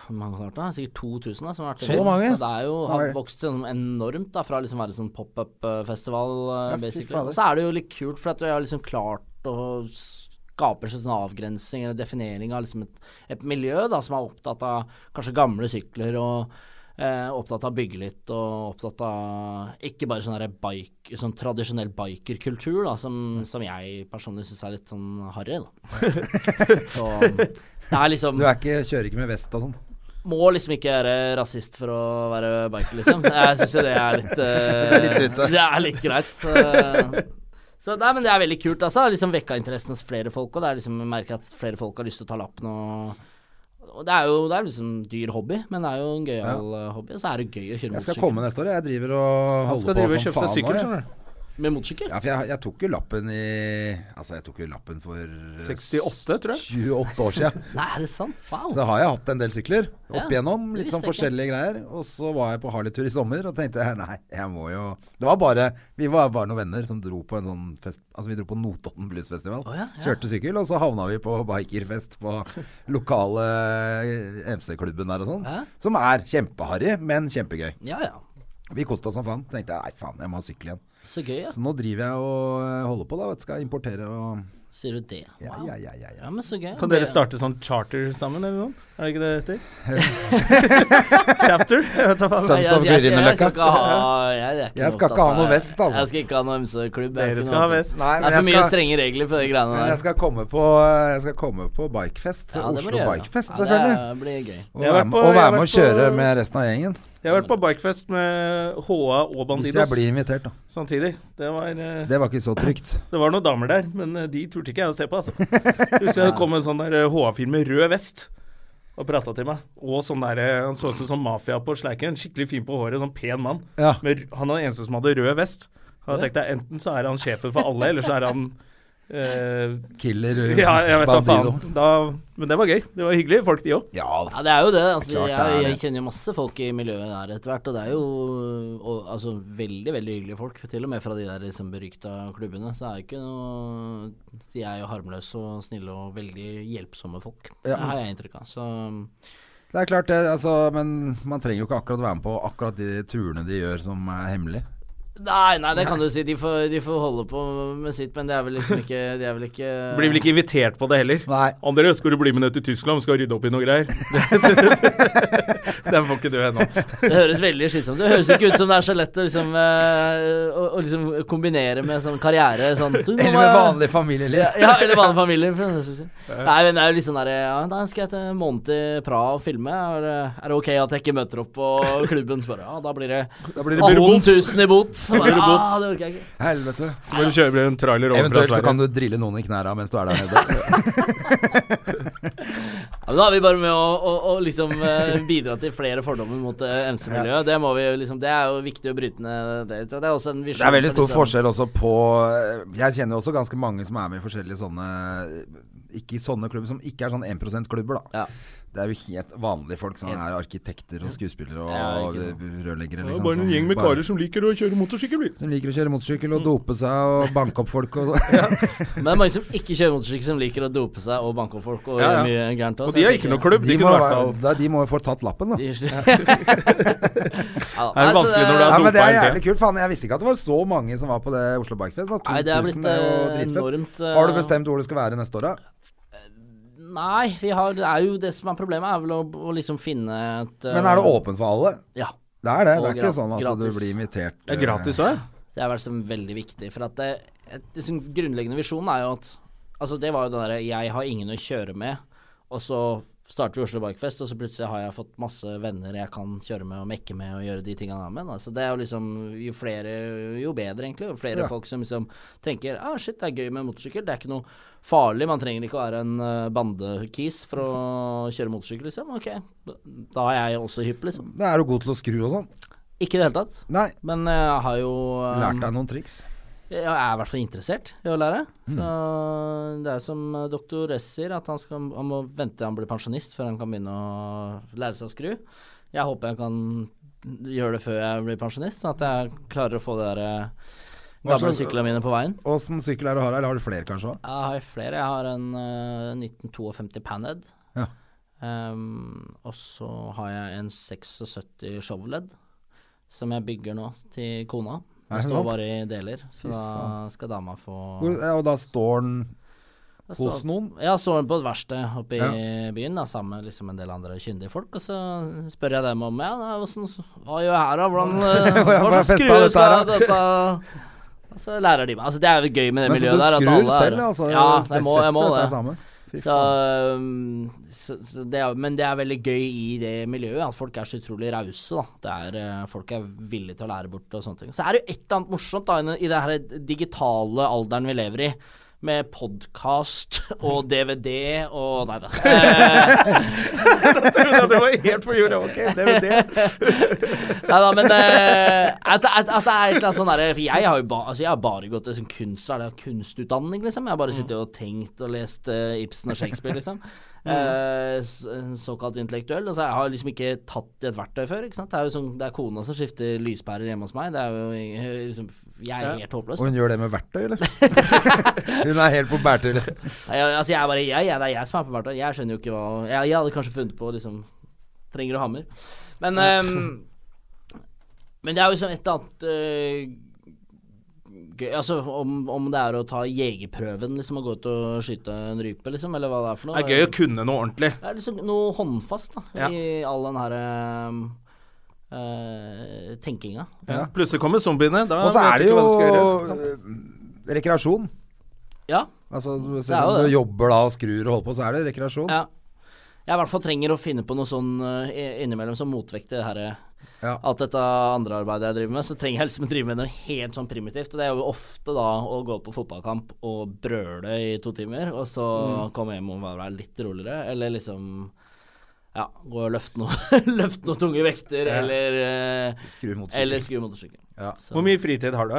Speaker 3: Hvor mange har det vært da? Sikkert 2000 da, som har vært
Speaker 2: Så mange?
Speaker 3: Det er jo,
Speaker 2: Oi.
Speaker 3: har vokst sånn enormt da, fra liksom å være sånn pop-up-festival,
Speaker 2: Ja, fy
Speaker 3: eh, basically.
Speaker 2: fader.
Speaker 3: Og så er det jo litt kult, for at vi har liksom klart å skape en sånn avgrensing eller definering av liksom et, et miljø da, som er opptatt av kanskje gamle sykler og eh, opptatt av å bygge litt og opptatt av ikke bare sånn derre bike, sånn tradisjonell bikerkultur da, som,
Speaker 2: Mm.
Speaker 3: som jeg personlig syns er litt sånn harry, da. Så det er liksom
Speaker 2: Du er ikke, kjører ikke med vest og sånn?
Speaker 3: må liksom ikke være rasist for å være biker, liksom. Jeg syns jo det er litt eh,
Speaker 2: Det er litt dritt, da.
Speaker 3: Det er litt greit. eh. så nei, men det er veldig kult, altså. Det har Liksom vekka interessen hos flere folk, og det er liksom jeg merker at flere folk har lyst til å ta lappen og og det er jo det er liksom dyr hobby, men det er jo en gøyal eh, hobby. Og så er det gøy å kjøre
Speaker 2: Jeg skal
Speaker 3: motorsykkel.
Speaker 2: komme neste år, jeg. Jeg driver og
Speaker 1: Han
Speaker 2: holder
Speaker 1: skal
Speaker 2: på
Speaker 1: drive og
Speaker 2: som
Speaker 1: kjøpe seg
Speaker 2: faen nå,
Speaker 1: sykkel,
Speaker 2: jeg.
Speaker 1: skjønner du.
Speaker 3: Med motorsykkel?
Speaker 2: Ja, for jeg, jeg tok jo lappen i Altså, jeg tok jo lappen for eh,
Speaker 1: 68, tror jeg.
Speaker 2: 28 år siden.
Speaker 3: Nei, er det sant? Wow.
Speaker 2: Så har jeg hatt en del sykler opp
Speaker 3: Ja,
Speaker 2: igjennom.
Speaker 3: det
Speaker 2: Litt
Speaker 3: visste
Speaker 2: sånn
Speaker 3: jeg ikke.
Speaker 2: forskjellige greier. Og så var jeg på Harley-tur i sommer og tenkte jeg, nei, jeg må jo Det var bare Vi var bare noen venner som dro på en sånn fest Altså vi dro på Notodden Bluesfestival.
Speaker 3: ja, ja.
Speaker 2: Kjørte sykkel, og så havna vi på bikerfest på lokale MC-klubben der og sånn.
Speaker 3: Ja.
Speaker 2: Som er kjempeharry, men kjempegøy.
Speaker 3: Ja, ja.
Speaker 2: Vi koste oss som faen. Tenkte jeg nei, faen, jeg må ha sykkel igjen.
Speaker 3: Så gøy, ja.
Speaker 2: Så nå driver jeg og eh, holder på, da. Vet, du, skal importere og
Speaker 3: Sier du det?
Speaker 2: Ja,
Speaker 3: Wow.
Speaker 2: ja, ja. ja, ja.
Speaker 3: Ja, men så gøy.
Speaker 1: Kan
Speaker 3: Det-
Speaker 1: dere starte sånn charter sammen, eller noe? Er det ikke det det heter? Chapter? Jeg vet da faen.
Speaker 3: Nei,
Speaker 2: Sons of
Speaker 3: jeg- jeg- Jeg
Speaker 2: Grünerløkka.
Speaker 3: skal ikke ha Jeg, er
Speaker 2: Jeg skal ikke ha
Speaker 3: opptatt av-
Speaker 2: noe vest, altså.
Speaker 3: Jeg skal ikke ha noe MC-klubb. jeg er
Speaker 1: Dere
Speaker 3: ikke
Speaker 1: skal
Speaker 3: noe
Speaker 1: ha
Speaker 3: opptatt-
Speaker 1: vest.
Speaker 2: Nei,
Speaker 3: Det
Speaker 2: men
Speaker 3: er for
Speaker 2: jeg
Speaker 3: mye
Speaker 2: skal-
Speaker 3: strenge regler for de greiene
Speaker 2: Men
Speaker 3: der.
Speaker 2: jeg skal komme på, jeg skal komme på bikefest.
Speaker 3: Ja, det må
Speaker 2: Oslo
Speaker 3: du gjøre.
Speaker 2: Bikefest,
Speaker 3: Ja,
Speaker 2: selvfølgelig.
Speaker 3: det blir gøy.
Speaker 2: Og
Speaker 1: Jeg har
Speaker 2: være
Speaker 1: vært
Speaker 2: med,
Speaker 1: på-
Speaker 2: og
Speaker 1: jeg
Speaker 2: være
Speaker 1: har
Speaker 2: med og
Speaker 1: vært på-
Speaker 2: kjøre med resten av gjengen.
Speaker 1: Jeg har vært på bikefest med HA og
Speaker 2: Hvis jeg
Speaker 1: Bandidos
Speaker 2: blir invitert, da.
Speaker 1: samtidig. Det var, eh,
Speaker 2: Det var ikke så trygt.
Speaker 1: det var noen damer der, men eh, de turte ikke jeg å se på, altså. Hvis jeg kom en sånn der HA-fyr med rød vest og prata til meg, og sånn der eh, Han så ut som sånn mafia på sleiken. Skikkelig fin på håret, sånn pen mann.
Speaker 2: Ja.
Speaker 1: Men han er den eneste som hadde rød vest. Og Jeg tenkte enten så er han sjefen for alle, eller så er han eh,
Speaker 2: Killer
Speaker 1: Ja, jeg vet da
Speaker 2: bandido.
Speaker 1: faen. Da, men det var gøy. Det var hyggelige folk, de òg.
Speaker 2: Ja, da.
Speaker 3: Ja, det er jo det. Altså,
Speaker 2: Det er klart det er
Speaker 3: jeg, jeg
Speaker 2: det.
Speaker 3: kjenner jo masse folk i miljøet der etter hvert, og det er jo og, altså, veldig, veldig hyggelige folk. Til og med fra de der liksom, berykta klubbene. Så det er jo ikke noe De er jo harmløse og snille og veldig hjelpsomme folk.
Speaker 2: Ja.
Speaker 3: Det har jeg inntrykk av. Så
Speaker 2: Det er klart det, altså, men man trenger jo ikke akkurat være med på akkurat de turene de gjør som er hemmelige.
Speaker 3: Nei, nei, det kan du si. De får, de får holde på med sitt, men det er vel liksom ikke De er vel ikke
Speaker 1: Blir vel ikke invitert på det heller.
Speaker 2: Nei.
Speaker 1: André, skal du bli med ned til Tyskland? Vi skal rydde opp i noe greier. Det- Den får ikke du ennå.
Speaker 3: Det høres veldig slitsomt ut. Det høres ikke ut som det er så lett å liksom, eh, å, å liksom kombinere med sånn karriere. Sånn,
Speaker 2: Eller med vanlig familieliv.
Speaker 3: Ja, ja, eller vanlige familier. For det, synes jeg. Nei, men det er jo litt sånn der ja, Da skal jeg til en måned til Praha og filme. Er, det- er det ok at jeg ikke møter opp på klubben? Så Bare, ja, da blir det
Speaker 2: Da blir det
Speaker 3: 18
Speaker 2: bot.
Speaker 3: 000 i bot. Så Bare,
Speaker 1: blir det bot.
Speaker 3: ja, det orker jeg ikke.
Speaker 2: Helvete.
Speaker 1: Så må du kjøre en trailer over fra
Speaker 2: Eventuelt så kan
Speaker 1: Sverige.
Speaker 2: du drille noen i knærne mens du er der nede.
Speaker 3: Ja, men da er vi bare med å, å, å liksom eh, bidra til flere fordommer mot eh, MC-miljøet. Det må vi jo liksom Det er jo viktig å bryte ned det. Så Det er også en visjon.
Speaker 2: Det er veldig
Speaker 3: for
Speaker 2: stor
Speaker 3: disse-
Speaker 2: forskjell også på eh, Jeg kjenner jo også ganske mange som er med i forskjellige sånne Ikke i sånne klubber, som ikke er sånn 1 %-klubber, da.
Speaker 3: Ja.
Speaker 2: Det er jo helt vanlige folk som er arkitekter og skuespillere og
Speaker 3: Ja, ikke
Speaker 2: rørleggere.
Speaker 1: Det er
Speaker 2: Liksom,
Speaker 1: bare en
Speaker 2: som
Speaker 1: gjeng med
Speaker 2: bare-
Speaker 1: karer som Mm. liker å kjøre motorsykkel. vi.
Speaker 2: Som liker å kjøre motorsykkel og dope seg og banke opp folk og
Speaker 3: Men det er mange som ikke kjører motorsykkel, som liker å dope seg og banke opp folk og
Speaker 1: Ja, ja.
Speaker 3: gjøre mye gærent.
Speaker 1: Og de har ikke noe klubb. De
Speaker 2: De må,
Speaker 1: kunne i hvert fall
Speaker 2: da- de må jo få tatt lappen, da.
Speaker 3: Det er
Speaker 1: Er det vanskelig når du
Speaker 2: Ja,
Speaker 1: har
Speaker 2: men Det er
Speaker 1: dopa hele
Speaker 2: jævlig kult. Faen, jeg visste ikke at det var så mange som var på det Oslo Bikefest. Da.
Speaker 3: Nei, det er
Speaker 2: 2000
Speaker 3: blitt
Speaker 2: er jo
Speaker 3: eh,
Speaker 2: dritfett.
Speaker 3: enormt. eh,
Speaker 2: Har du bestemt hvor det skal være neste år, da?
Speaker 3: Nei, vi har, det er jo det som er problemet, er vel å, å liksom finne et eh,
Speaker 2: Men er det åpent for alle?
Speaker 3: Ja.
Speaker 2: Det er det. Det
Speaker 3: Og
Speaker 2: er ikke
Speaker 3: gratis.
Speaker 2: sånn at
Speaker 3: Gratis.
Speaker 2: du blir invitert.
Speaker 1: Det er gratis òg, ja.
Speaker 3: Det er vel liksom veldig viktig. For at det, et, liksom, grunnleggende visjonen er jo at Altså, det var jo det derre Jeg har ingen å kjøre med, og så starter vi Oslo Bikefest, og så plutselig har jeg fått masse venner jeg kan kjøre med og mekke med og gjøre de tingene der med. Da. Så det er jo liksom Jo flere, jo bedre, egentlig. Jo flere
Speaker 2: Ja.
Speaker 3: folk som liksom tenker ah, shit, det er gøy med motorsykkel. Det er ikke noe farlig. Man trenger ikke å være en eh, bandekis for å kjøre motorsykkel, liksom. Ok, da er jeg også hypp, liksom.
Speaker 2: Da eh, er du god til å skru og sånn.
Speaker 3: Ikke i det hele tatt.
Speaker 2: Nei.
Speaker 3: Men jeg har jo eh,
Speaker 2: Lært deg noen triks.
Speaker 3: jeg er i hvert fall interessert i å lære.
Speaker 2: Mm.
Speaker 3: Så det er som eh, doktor S sier, at han, skal, han må vente til han blir pensjonist før han kan begynne å lære seg å skru. Jeg håper jeg kan gjøre det før jeg blir pensjonist, sånn at jeg klarer å få de der eh,
Speaker 2: Hva
Speaker 3: gamle
Speaker 2: slags-
Speaker 3: syklene mine på veien.
Speaker 2: Åssen sykkel er det du har? Eller har du flere, kanskje? også?
Speaker 3: Jeg har flere. Jeg har en eh, 1952 Panhead.
Speaker 2: Ja.
Speaker 3: Ehm, og så har jeg en 76 Chevrolet som jeg bygger nå til kona.
Speaker 2: Er det
Speaker 3: Den
Speaker 2: sant?
Speaker 3: står bare i deler, så
Speaker 2: Fy
Speaker 3: da
Speaker 2: faen.
Speaker 3: skal dama få
Speaker 2: Hvor, ja, og da står den
Speaker 3: Da står-
Speaker 2: hos noen?
Speaker 3: Ja, så den på et verksted oppe i byen da, sammen med liksom en del andre kyndige folk. Og så spør jeg dem om ja, da, hvordan, hva gjør jeg her, da? Hvordan, eh,
Speaker 2: Hvordan
Speaker 3: hva
Speaker 2: får jeg festa
Speaker 3: slags
Speaker 2: dette her,
Speaker 3: skruer skal
Speaker 2: da?
Speaker 3: jeg dette Og så lærer de meg. Altså, det er jo gøy med det
Speaker 2: Men så
Speaker 3: miljøet
Speaker 2: du
Speaker 3: der. at
Speaker 2: skrur
Speaker 3: alle er-
Speaker 2: selv, altså?
Speaker 3: Ja,
Speaker 2: det
Speaker 3: jeg må, jeg må
Speaker 2: setter dette
Speaker 3: det.
Speaker 2: er samme. Fy
Speaker 3: Så,
Speaker 2: faen.
Speaker 3: um, så, så det er, men det er veldig gøy i det miljøet, at folk er så utrolig rause. da. Det er, eh, folk er villige til å lære bort og sånne ting. Så er det jo et eller annet morsomt da, i den- i det her digitale alderen vi lever i. Med podkast og DVD og Nei da. Eh,
Speaker 1: Det var helt på jordet. Ok, det er det.
Speaker 3: nei da, men eh, at, at, at det er et eller annet sånn derre For jeg har jo ba, altså, jeg har bare gått til sånn kunst, hva er det, kunstutdanning, liksom. Jeg har bare sittet og tenkt og lest eh, Ibsen og Shakespeare, liksom. Eh, s- en såkalt intellektuell. Altså, jeg har liksom ikke tatt i et verktøy før. Ikke sant? Det er jo sånn, det er kona som skifter lyspærer hjemme hos meg. Det er jo eh, liksom Jeg er helt håpløs.
Speaker 2: Og hun gjør det med verktøy, eller? hun er helt på bærtur.
Speaker 3: Nei, Jeg, altså, jeg er bare jeg, jeg, Det er jeg som er på verktøy. Jeg skjønner jo ikke hva Jeg, jeg hadde kanskje funnet på liksom Trenger du hammer? Men ehm, Men det er jo liksom et eller annet eh, gøy Altså om, om det er å ta jegerprøven, liksom, og gå ut og skyte en rype, liksom, eller hva det er for noe.
Speaker 1: Det er gøy å kunne noe ordentlig.
Speaker 3: Det er liksom noe håndfast da,
Speaker 1: Ja.
Speaker 3: i all den her eh, eh, tenkinga.
Speaker 1: Plutselig kommer zombiene. Da
Speaker 2: Og så
Speaker 1: vet
Speaker 2: er
Speaker 1: du
Speaker 2: det
Speaker 1: ikke
Speaker 2: jo
Speaker 1: hva du skal gjøre, ikke sant?
Speaker 2: eh, rekreasjon.
Speaker 3: Ja.
Speaker 2: Altså,
Speaker 3: Det er
Speaker 2: selv
Speaker 3: jo
Speaker 2: om
Speaker 3: det.
Speaker 2: du jobber da og skrur og holder på, så er det rekreasjon.
Speaker 3: ja. Jeg i hvert fall trenger å finne på noe sånn eh, innimellom som motvekt til det her eh,
Speaker 2: Ja.
Speaker 3: Alt dette andre arbeidet jeg driver med, så trenger jeg liksom å drive med noe helt sånn primitivt. Og det er jo ofte da å gå på fotballkamp og brøle i to timer, og så
Speaker 2: Mm.
Speaker 3: komme hjem og være litt roligere, eller liksom ja, gå og løfte noen løft noe tunge vekter, eller, eh,
Speaker 2: Skrur mot
Speaker 3: eller
Speaker 2: sykkel.
Speaker 3: skru motorsykkel.
Speaker 2: Ja.
Speaker 3: Så-
Speaker 1: Hvor mye fritid har du?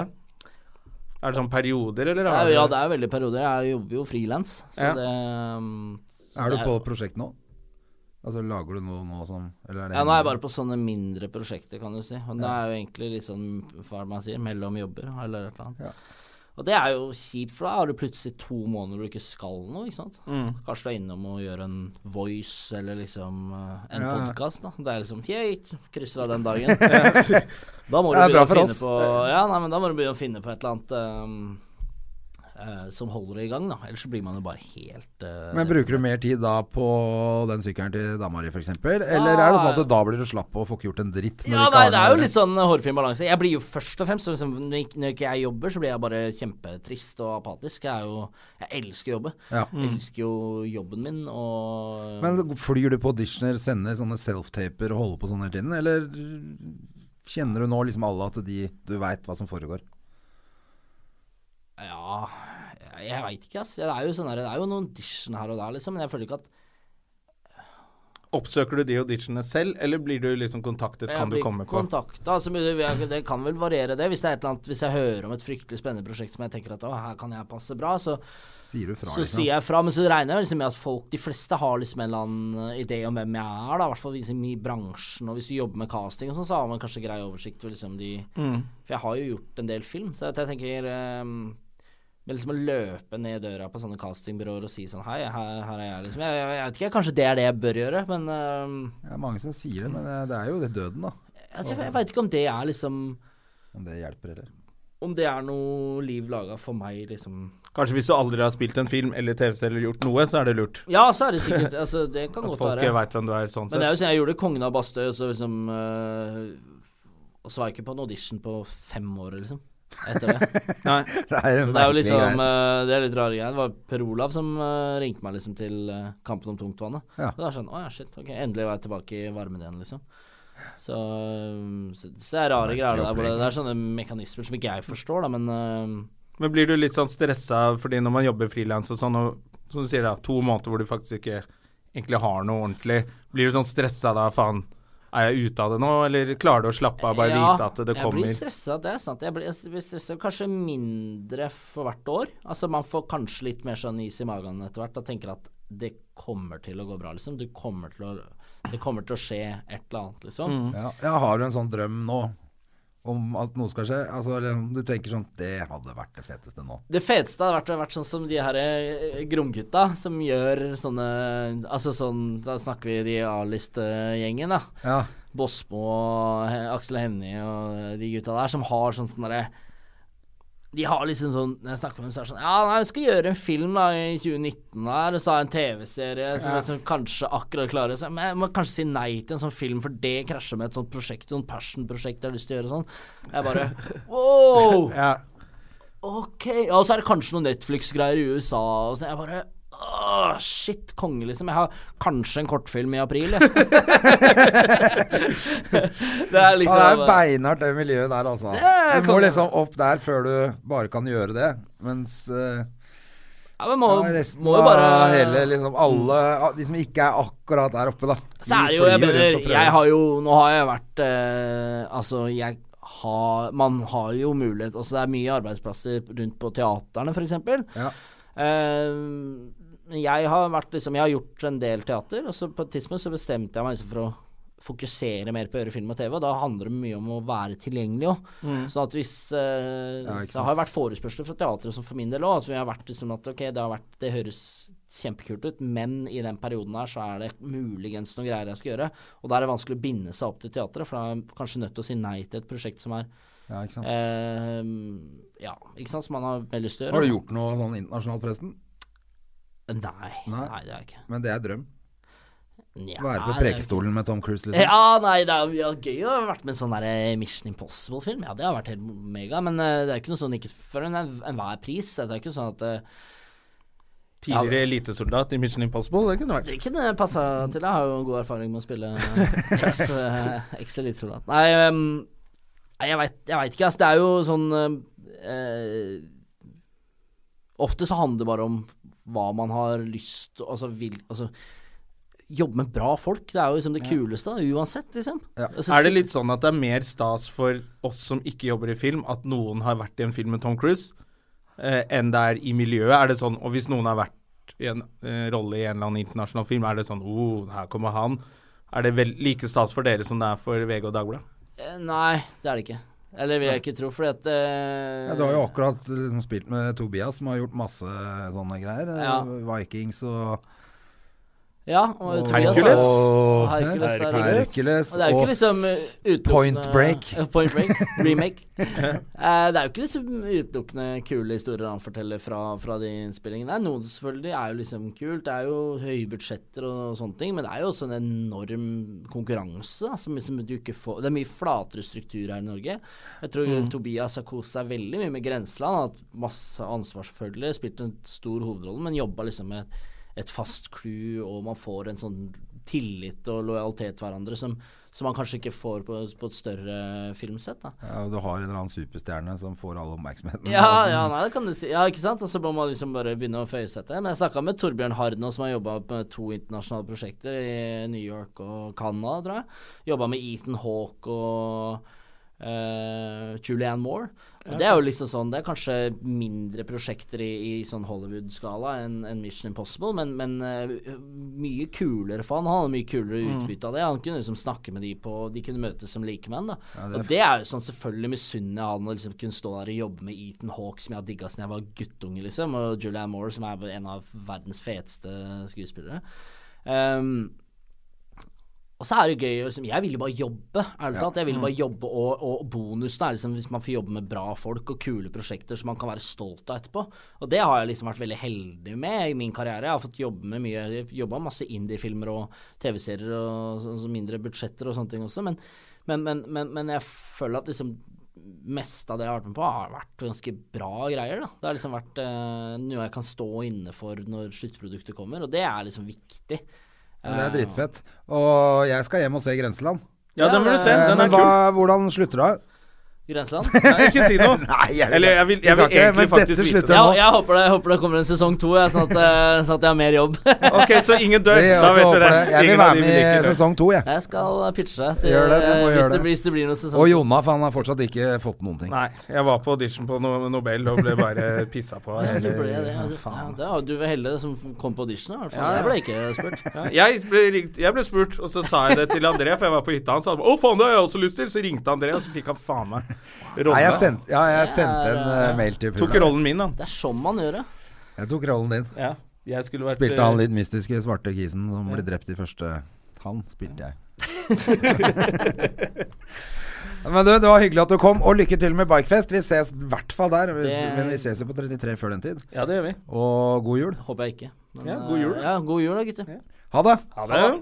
Speaker 1: Er det sånn perioder, eller?
Speaker 3: Det
Speaker 1: har
Speaker 3: er,
Speaker 1: du-
Speaker 3: jo- ja, det er veldig perioder. Jeg jobber jo frilans, så
Speaker 1: Ja.
Speaker 3: det um,
Speaker 2: Er du
Speaker 3: det
Speaker 2: på prosjekt nå? Altså lager du noe nå som Eller er det
Speaker 3: Ja, nå er jeg bare på sånne mindre prosjekter, kan du si. Og det er jo egentlig litt sånn, hva er det man sier, mellom jobber eller et eller annet. Og det er jo kjipt, for da har du plutselig to måneder hvor du ikke skal noe, ikke sant.
Speaker 2: Mm.
Speaker 3: Kanskje du er innom og gjør en voice eller liksom eh, en
Speaker 2: Ja, ja.
Speaker 3: podcast podkast, da. Det er liksom Yay, krysser av den dagen. da må du
Speaker 2: Det er bra
Speaker 3: begynne å
Speaker 2: for
Speaker 3: finne
Speaker 2: oss.
Speaker 3: på Ja, nei, men da må du begynne å finne på et eller annet eh, eh, som holder det i gang, da. Ellers så blir man jo bare helt eh,
Speaker 2: Men bruker du mer tid da på den sykkelen til dama di, f.eks.? Eller er det sånn at da blir du slapp og får ikke gjort en dritt? når
Speaker 3: Ja,
Speaker 2: du ikke
Speaker 3: nei,
Speaker 2: har
Speaker 3: det er jo
Speaker 2: noe-
Speaker 3: litt sånn hårfin balanse. Jeg blir jo først og fremst så liksom, Når ikke- når ikke jeg jobber, så blir jeg bare kjempetrist og apatisk. Jeg er jo Jeg elsker å jobbe.
Speaker 2: Ja.
Speaker 3: Jeg
Speaker 1: Mm.
Speaker 3: elsker jo jobben min og
Speaker 2: Men flyr du på auditioner, sender sånne self-taper og holder på sånn hele tiden? Eller kjenner du nå liksom alle at de Du veit hva som foregår?
Speaker 3: Ja Jeg, jeg veit ikke, ass. Det er jo sånn der, Det er jo noen audition her og der, liksom, men jeg føler ikke at
Speaker 1: Oppsøker du de auditionene selv, eller blir du liksom kontaktet?
Speaker 3: jeg
Speaker 1: Kan du
Speaker 3: blir
Speaker 1: komme på?
Speaker 3: kontakta. Altså, men det- det kan vel variere, det. Hvis det er et eller annet Hvis jeg hører om et fryktelig spennende prosjekt som jeg tenker at å, her kan jeg passe bra, så
Speaker 2: Sier du fra? liksom?
Speaker 3: Så sier jeg fra, men så regner jeg liksom med at folk, de fleste har liksom en eller annen idé om hvem jeg er, da, i hvert fall liksom i bransjen, og hvis du jobber med casting og sånn, så har man kanskje grei oversikt over liksom de
Speaker 1: Mm.
Speaker 3: For jeg har jo gjort en del film, så jeg, jeg tenker ehm, men liksom å løpe ned døra på sånne castingbyråer og si sånn Hei, her, her er jeg, liksom. Jeg, jeg, jeg vet ikke, kanskje det er det jeg bør gjøre, men ehm,
Speaker 2: Det er mange som sier det, men eh, det er jo det døden, da.
Speaker 3: jeg, jeg, jeg veit ikke om det er liksom
Speaker 2: Om det hjelper, eller?
Speaker 3: Om det er noe liv laga for meg, liksom.
Speaker 1: Kanskje hvis du aldri har spilt en film eller TV-serie eller gjort noe, så er det lurt.
Speaker 3: Ja, så er det sikkert Altså, det kan
Speaker 1: At
Speaker 3: godt
Speaker 1: folk
Speaker 3: være.
Speaker 1: ikke veit hvem du er, sånn
Speaker 3: Men det er jo
Speaker 1: sett.
Speaker 3: sånn jeg gjorde Kongen av Bastøy, og så liksom øh, Og så var jeg ikke på en audition på fem år, liksom. Etter det.
Speaker 1: Nei.
Speaker 2: Det er,
Speaker 3: Det er jo liksom øh, Det er litt rare greier. Det var Per Olav som øh, ringte meg liksom til øh, Kampen om tungtvannet.
Speaker 2: Ja.
Speaker 3: Og da er det sånn Å ja, shit. Ok, endelig var jeg tilbake i varmen igjen, liksom. Så, øh, så, så det er rare greier. Det, der, hvor det, det er sånne mekanismer som ikke jeg forstår, da, men øh,
Speaker 1: Men blir du litt sånn stressa fordi når man jobber frilans og sånn, og som du sier da, to måneder hvor du faktisk ikke egentlig har noe ordentlig, blir du sånn stressa da, faen, er jeg ute av det nå, eller klarer du å slappe av, bare vite at det
Speaker 3: Jeg
Speaker 1: kommer?
Speaker 3: blir stressa, det er sant. Jeg blir, jeg blir stressa kanskje mindre for hvert år. Altså man får kanskje litt mer sånn is i magen etter hvert og tenker at det kommer til å gå bra, liksom. Du kommer til å, det kommer til å skje et eller annet, liksom.
Speaker 1: Mm.
Speaker 2: Ja, ja, har du en sånn drøm nå om at noe skal skje? Altså, eller om du tenker sånn Det hadde vært det feteste nå.
Speaker 3: Det feteste hadde vært, vært sånn som de her eh, Gromgutta, som gjør sånne Altså sånn, da snakker vi de A-liste-gjengen, da.
Speaker 2: Ja.
Speaker 3: Bosmo og He- Aksel Hennie og de gutta der som har sånn sånn derre De har liksom sånn Når jeg snakker med dem, så er det sånn Ja, nei, vi skal gjøre en film da i 2019 her, og så ha en TV-serie som liksom kanskje akkurat klarer seg. Men jeg må kanskje si nei til en sånn film, for det krasjer med et sånt prosjekt, noen passion-prosjekt jeg har lyst til å gjøre og sånn. Jeg bare Wow!
Speaker 1: Ja.
Speaker 3: Ok, ja, og så er det kanskje noen Netflix-greier i USA og sånn. Jeg bare Åh, shit, konge, liksom. Jeg har kanskje en kortfilm i april, jeg. det er
Speaker 2: Ja, det er
Speaker 3: liksom
Speaker 2: beinhardt, det miljøet der, altså.
Speaker 3: Det
Speaker 2: Du må
Speaker 3: kan-
Speaker 2: liksom opp der før du bare kan gjøre det. Mens eh,
Speaker 3: ja, men må,
Speaker 2: ja, resten
Speaker 3: må jo
Speaker 2: av
Speaker 3: bare
Speaker 2: hele liksom Alle ah, de som ikke er akkurat der oppe, da.
Speaker 3: Så er det jo,
Speaker 2: flyr
Speaker 3: jeg
Speaker 2: rundt
Speaker 3: mener,
Speaker 2: og prøver.
Speaker 3: jeg har jo Nå har jeg vært eh, Altså, jeg har Man har jo mulighet Altså, det er mye arbeidsplasser rundt på teaterne, for eksempel.
Speaker 2: Ja.
Speaker 3: Eh, jeg har vært liksom Jeg har gjort en del teater, og så på et tidspunkt så bestemte jeg meg liksom for å fokusere mer på å gjøre film og TV. Og da handler det mye om å være tilgjengelig òg. Sånn at hvis eh,
Speaker 2: Mm. Ja, ikke
Speaker 3: Det har jo vært forespørsler fra teatret også for min del òg. Altså, vi har vært liksom at ok, det har vært Det høres kjempekult ut, men i den perioden her så er det muligens noen greier jeg skal gjøre. Og da er det vanskelig å binde seg opp til teatret, for da er jeg kanskje nødt til å si nei til et prosjekt som er
Speaker 2: Ja, ikke sant?
Speaker 3: eh, Ja, ikke sant, som man har veldig lyst til å gjøre.
Speaker 2: Har du gjort noe sånn internasjonalt, forresten?
Speaker 3: Nei,
Speaker 2: Nei.
Speaker 3: nei, det er jeg ikke.
Speaker 2: Men det er drøm.
Speaker 3: Nja,
Speaker 2: Være på
Speaker 3: det er-
Speaker 2: prekestolen med Tom Cruise, liksom.
Speaker 3: Ja, nei, det er jo ja, gøy å ha vært med i en sånn der eh, Mission Impossible-film. Ja, det har vært helt mega, men eh, det er ikke noe sånn ikke for en- enhver pris. Det er ikke sånn at eh,
Speaker 1: Tidligere elitesoldat i Mission Impossible, det kunne vært.
Speaker 3: Det kunne passa
Speaker 2: Mm.
Speaker 3: til. Jeg har jo god erfaring med å spille eh, eks- eh, eks-elitesoldat. Nei, ehm, nei, jeg veit jeg vet ikke. Altså, det er jo sånn eh, eh, Ofte så handler det bare om hva man har lyst Altså, vil, altså Jobbe med bra folk, det er jo liksom det kuleste, da, uansett, liksom.
Speaker 2: Ja.
Speaker 3: Altså,
Speaker 1: Er det
Speaker 3: si-
Speaker 1: litt sånn at det er mer stas for oss som ikke jobber i film, at noen har vært i en film med Tom Cruise, eh, enn det er i miljøet? Er det sånn, og hvis noen har vært i en eh, rolle i en eller annen internasjonal film, er det sånn oh, her kommer han. Er det vel like stas for dere som det er for VG og Dagbladet?
Speaker 3: Eh, Nei, det er det ikke. Eller vil jeg ikke tro, fordi at eh,
Speaker 2: Ja, du har jo akkurat liksom, spilt med Tobias, som har gjort masse sånne greier. eh,
Speaker 3: Ja.
Speaker 2: Vikings og
Speaker 3: Ja, og Tobias
Speaker 1: Hercules.
Speaker 3: har-
Speaker 2: Og,
Speaker 3: Hercules, det er riktig.
Speaker 2: Hercules
Speaker 3: Og det er jo ikke
Speaker 2: og
Speaker 3: liksom uh, utelukkende
Speaker 2: Point Break.
Speaker 3: Ja, Point Break, remake. Eh, det er jo ikke liksom utelukkende kule historier han forteller fra, fra de innspillingene. Det er Noen selvfølgelig er jo liksom kult, det er jo høye budsjetter og, sånne ting, men det er jo også en enorm konkurranse. Da, som, som du ikke får, det er mye flatere struktur her i Norge. Jeg tror Tobias har kost seg veldig mye med Grenseland, har hatt masse ansvar selvfølgelig, spilt en stor hovedrolle, men jobba liksom med et fast crew, og man får en sånn tillit og lojalitet til hverandre som, som man kanskje ikke får på, på et større filmsett. da.
Speaker 2: ja, Du har en eller annen superstjerne som får all oppmerksomheten. Altså.
Speaker 3: Ja,
Speaker 2: og som-
Speaker 3: ja, nei, det kan du si. Ja, ikke sant? Og så må man liksom bare begynne å føye seg til. Men jeg snakka med Torbjørn Hard nå, som har jobba med to internasjonale prosjekter i New York og Canada, tror jeg. Jobba med Ethan Hawke og eh, Julianne Moore. Og det er jo liksom sånn, det er kanskje mindre prosjekter i, i sånn Hollywood-skala enn enn Mission Impossible, men, men eh, mye kulere for han. Han hadde mye kulere
Speaker 2: Mm.
Speaker 3: utbytte av det. Han kunne liksom snakke med de på De kunne møtes som likemenn, da.
Speaker 2: det er-
Speaker 3: Og det er jo sånn selvfølgelig misunner jeg han å liksom kunne stå der og jobbe med Ethan Hawke, som jeg har digga siden jeg var guttunge, liksom, og Julianne Moore, som er en av verdens feteste skuespillere. Um, og så er det jo gøy å liksom, Jeg vil jo bare jobbe. ærlig talt. Jeg vil bare jobbe, og, og bonusen er liksom hvis man får jobbe med bra folk og kule prosjekter som man kan være stolt av etterpå. Og det har jeg liksom vært veldig heldig med i min karriere. Jeg har fått jobbe med mye, jobba masse indie-filmer og TV-serier og sånn som mindre budsjetter og sånne ting også, men, men, men, men, men jeg føler at liksom meste av det jeg har vært med på, har vært ganske bra greier. da. Det har liksom vært eh, noe jeg kan stå inne for når sluttproduktet kommer, og det er liksom viktig.
Speaker 2: Ja, det er dritfett. Og jeg skal hjem og se Grenseland.
Speaker 1: Ja, den vil du se.
Speaker 2: Eh,
Speaker 1: Den
Speaker 2: men
Speaker 1: er kul.
Speaker 2: hva, hvordan slutter du? av?
Speaker 3: Grenseland?
Speaker 1: Nei, ikke si noe.
Speaker 2: Nei, jeg vil-
Speaker 1: Eller jeg vil,
Speaker 2: Vi
Speaker 1: jeg
Speaker 2: skal
Speaker 1: vil
Speaker 2: ikke, men
Speaker 1: egentlig faktisk
Speaker 2: dette
Speaker 1: vite
Speaker 2: slutter
Speaker 1: det.
Speaker 2: nå.
Speaker 3: Ja, jeg håper det, jeg håper det kommer en sesong to, jeg, sånn, at, eh, sånn at jeg har mer jobb.
Speaker 1: Ok, så ingen dør.
Speaker 2: Vi
Speaker 1: Da
Speaker 2: også
Speaker 1: vet vi
Speaker 2: håper
Speaker 1: det.
Speaker 2: det. Jeg vil
Speaker 1: Ingen av
Speaker 2: være
Speaker 1: de
Speaker 2: med
Speaker 1: vil
Speaker 2: i
Speaker 1: ikke dø.
Speaker 2: sesson to, jeg.
Speaker 3: Jeg skal pitche deg til,
Speaker 2: Gjør det, du må
Speaker 3: eh,
Speaker 2: gjøre
Speaker 3: hvis,
Speaker 2: det.
Speaker 3: det blir, hvis det blir noen sesong
Speaker 2: Og
Speaker 3: to.
Speaker 2: Jonah, for han har fortsatt ikke fått noen ting.
Speaker 1: Nei, jeg var på audition på no Nobel og ble bare pissa på.
Speaker 3: Ja,
Speaker 1: hele-
Speaker 3: det ble det, ja, det, ja, det var du var heldig som kom på audition, i hvert fall. Jeg ble ikke spurt.
Speaker 1: Ja, Jeg ble, ringt, jeg ble spurt, og så sa jeg det til André, for jeg var på hytta hans. og Han ba, 'Å, faen, det har jeg også lyst til'. Så ringte André, og så fikk han faen meg rolle.
Speaker 2: Nei, jeg sendte, ja, jeg sendte en
Speaker 3: er,
Speaker 2: eh, mail til
Speaker 1: Tok
Speaker 2: Pula.
Speaker 1: rollen min, han.
Speaker 3: Det er sånn man gjør det.
Speaker 2: Jeg tok rollen din.
Speaker 1: Ja, jeg skulle vært
Speaker 2: Spilte han litt mystiske svarte kisen som ble drept i første Han spilte jeg. Men du, det var hyggelig at du kom, og lykke til med Bikefest. Vi ses i hvert fall der. Vi-
Speaker 3: Det-
Speaker 2: Men vi ses jo på 33 før den tid.
Speaker 1: Ja, det gjør vi.
Speaker 2: Og god jul.
Speaker 3: Håper jeg ikke. Men,
Speaker 1: Ja, god jul, da.
Speaker 3: eh, Ja, god jul da, gutter.
Speaker 2: Ha det.
Speaker 1: Ha eh, det.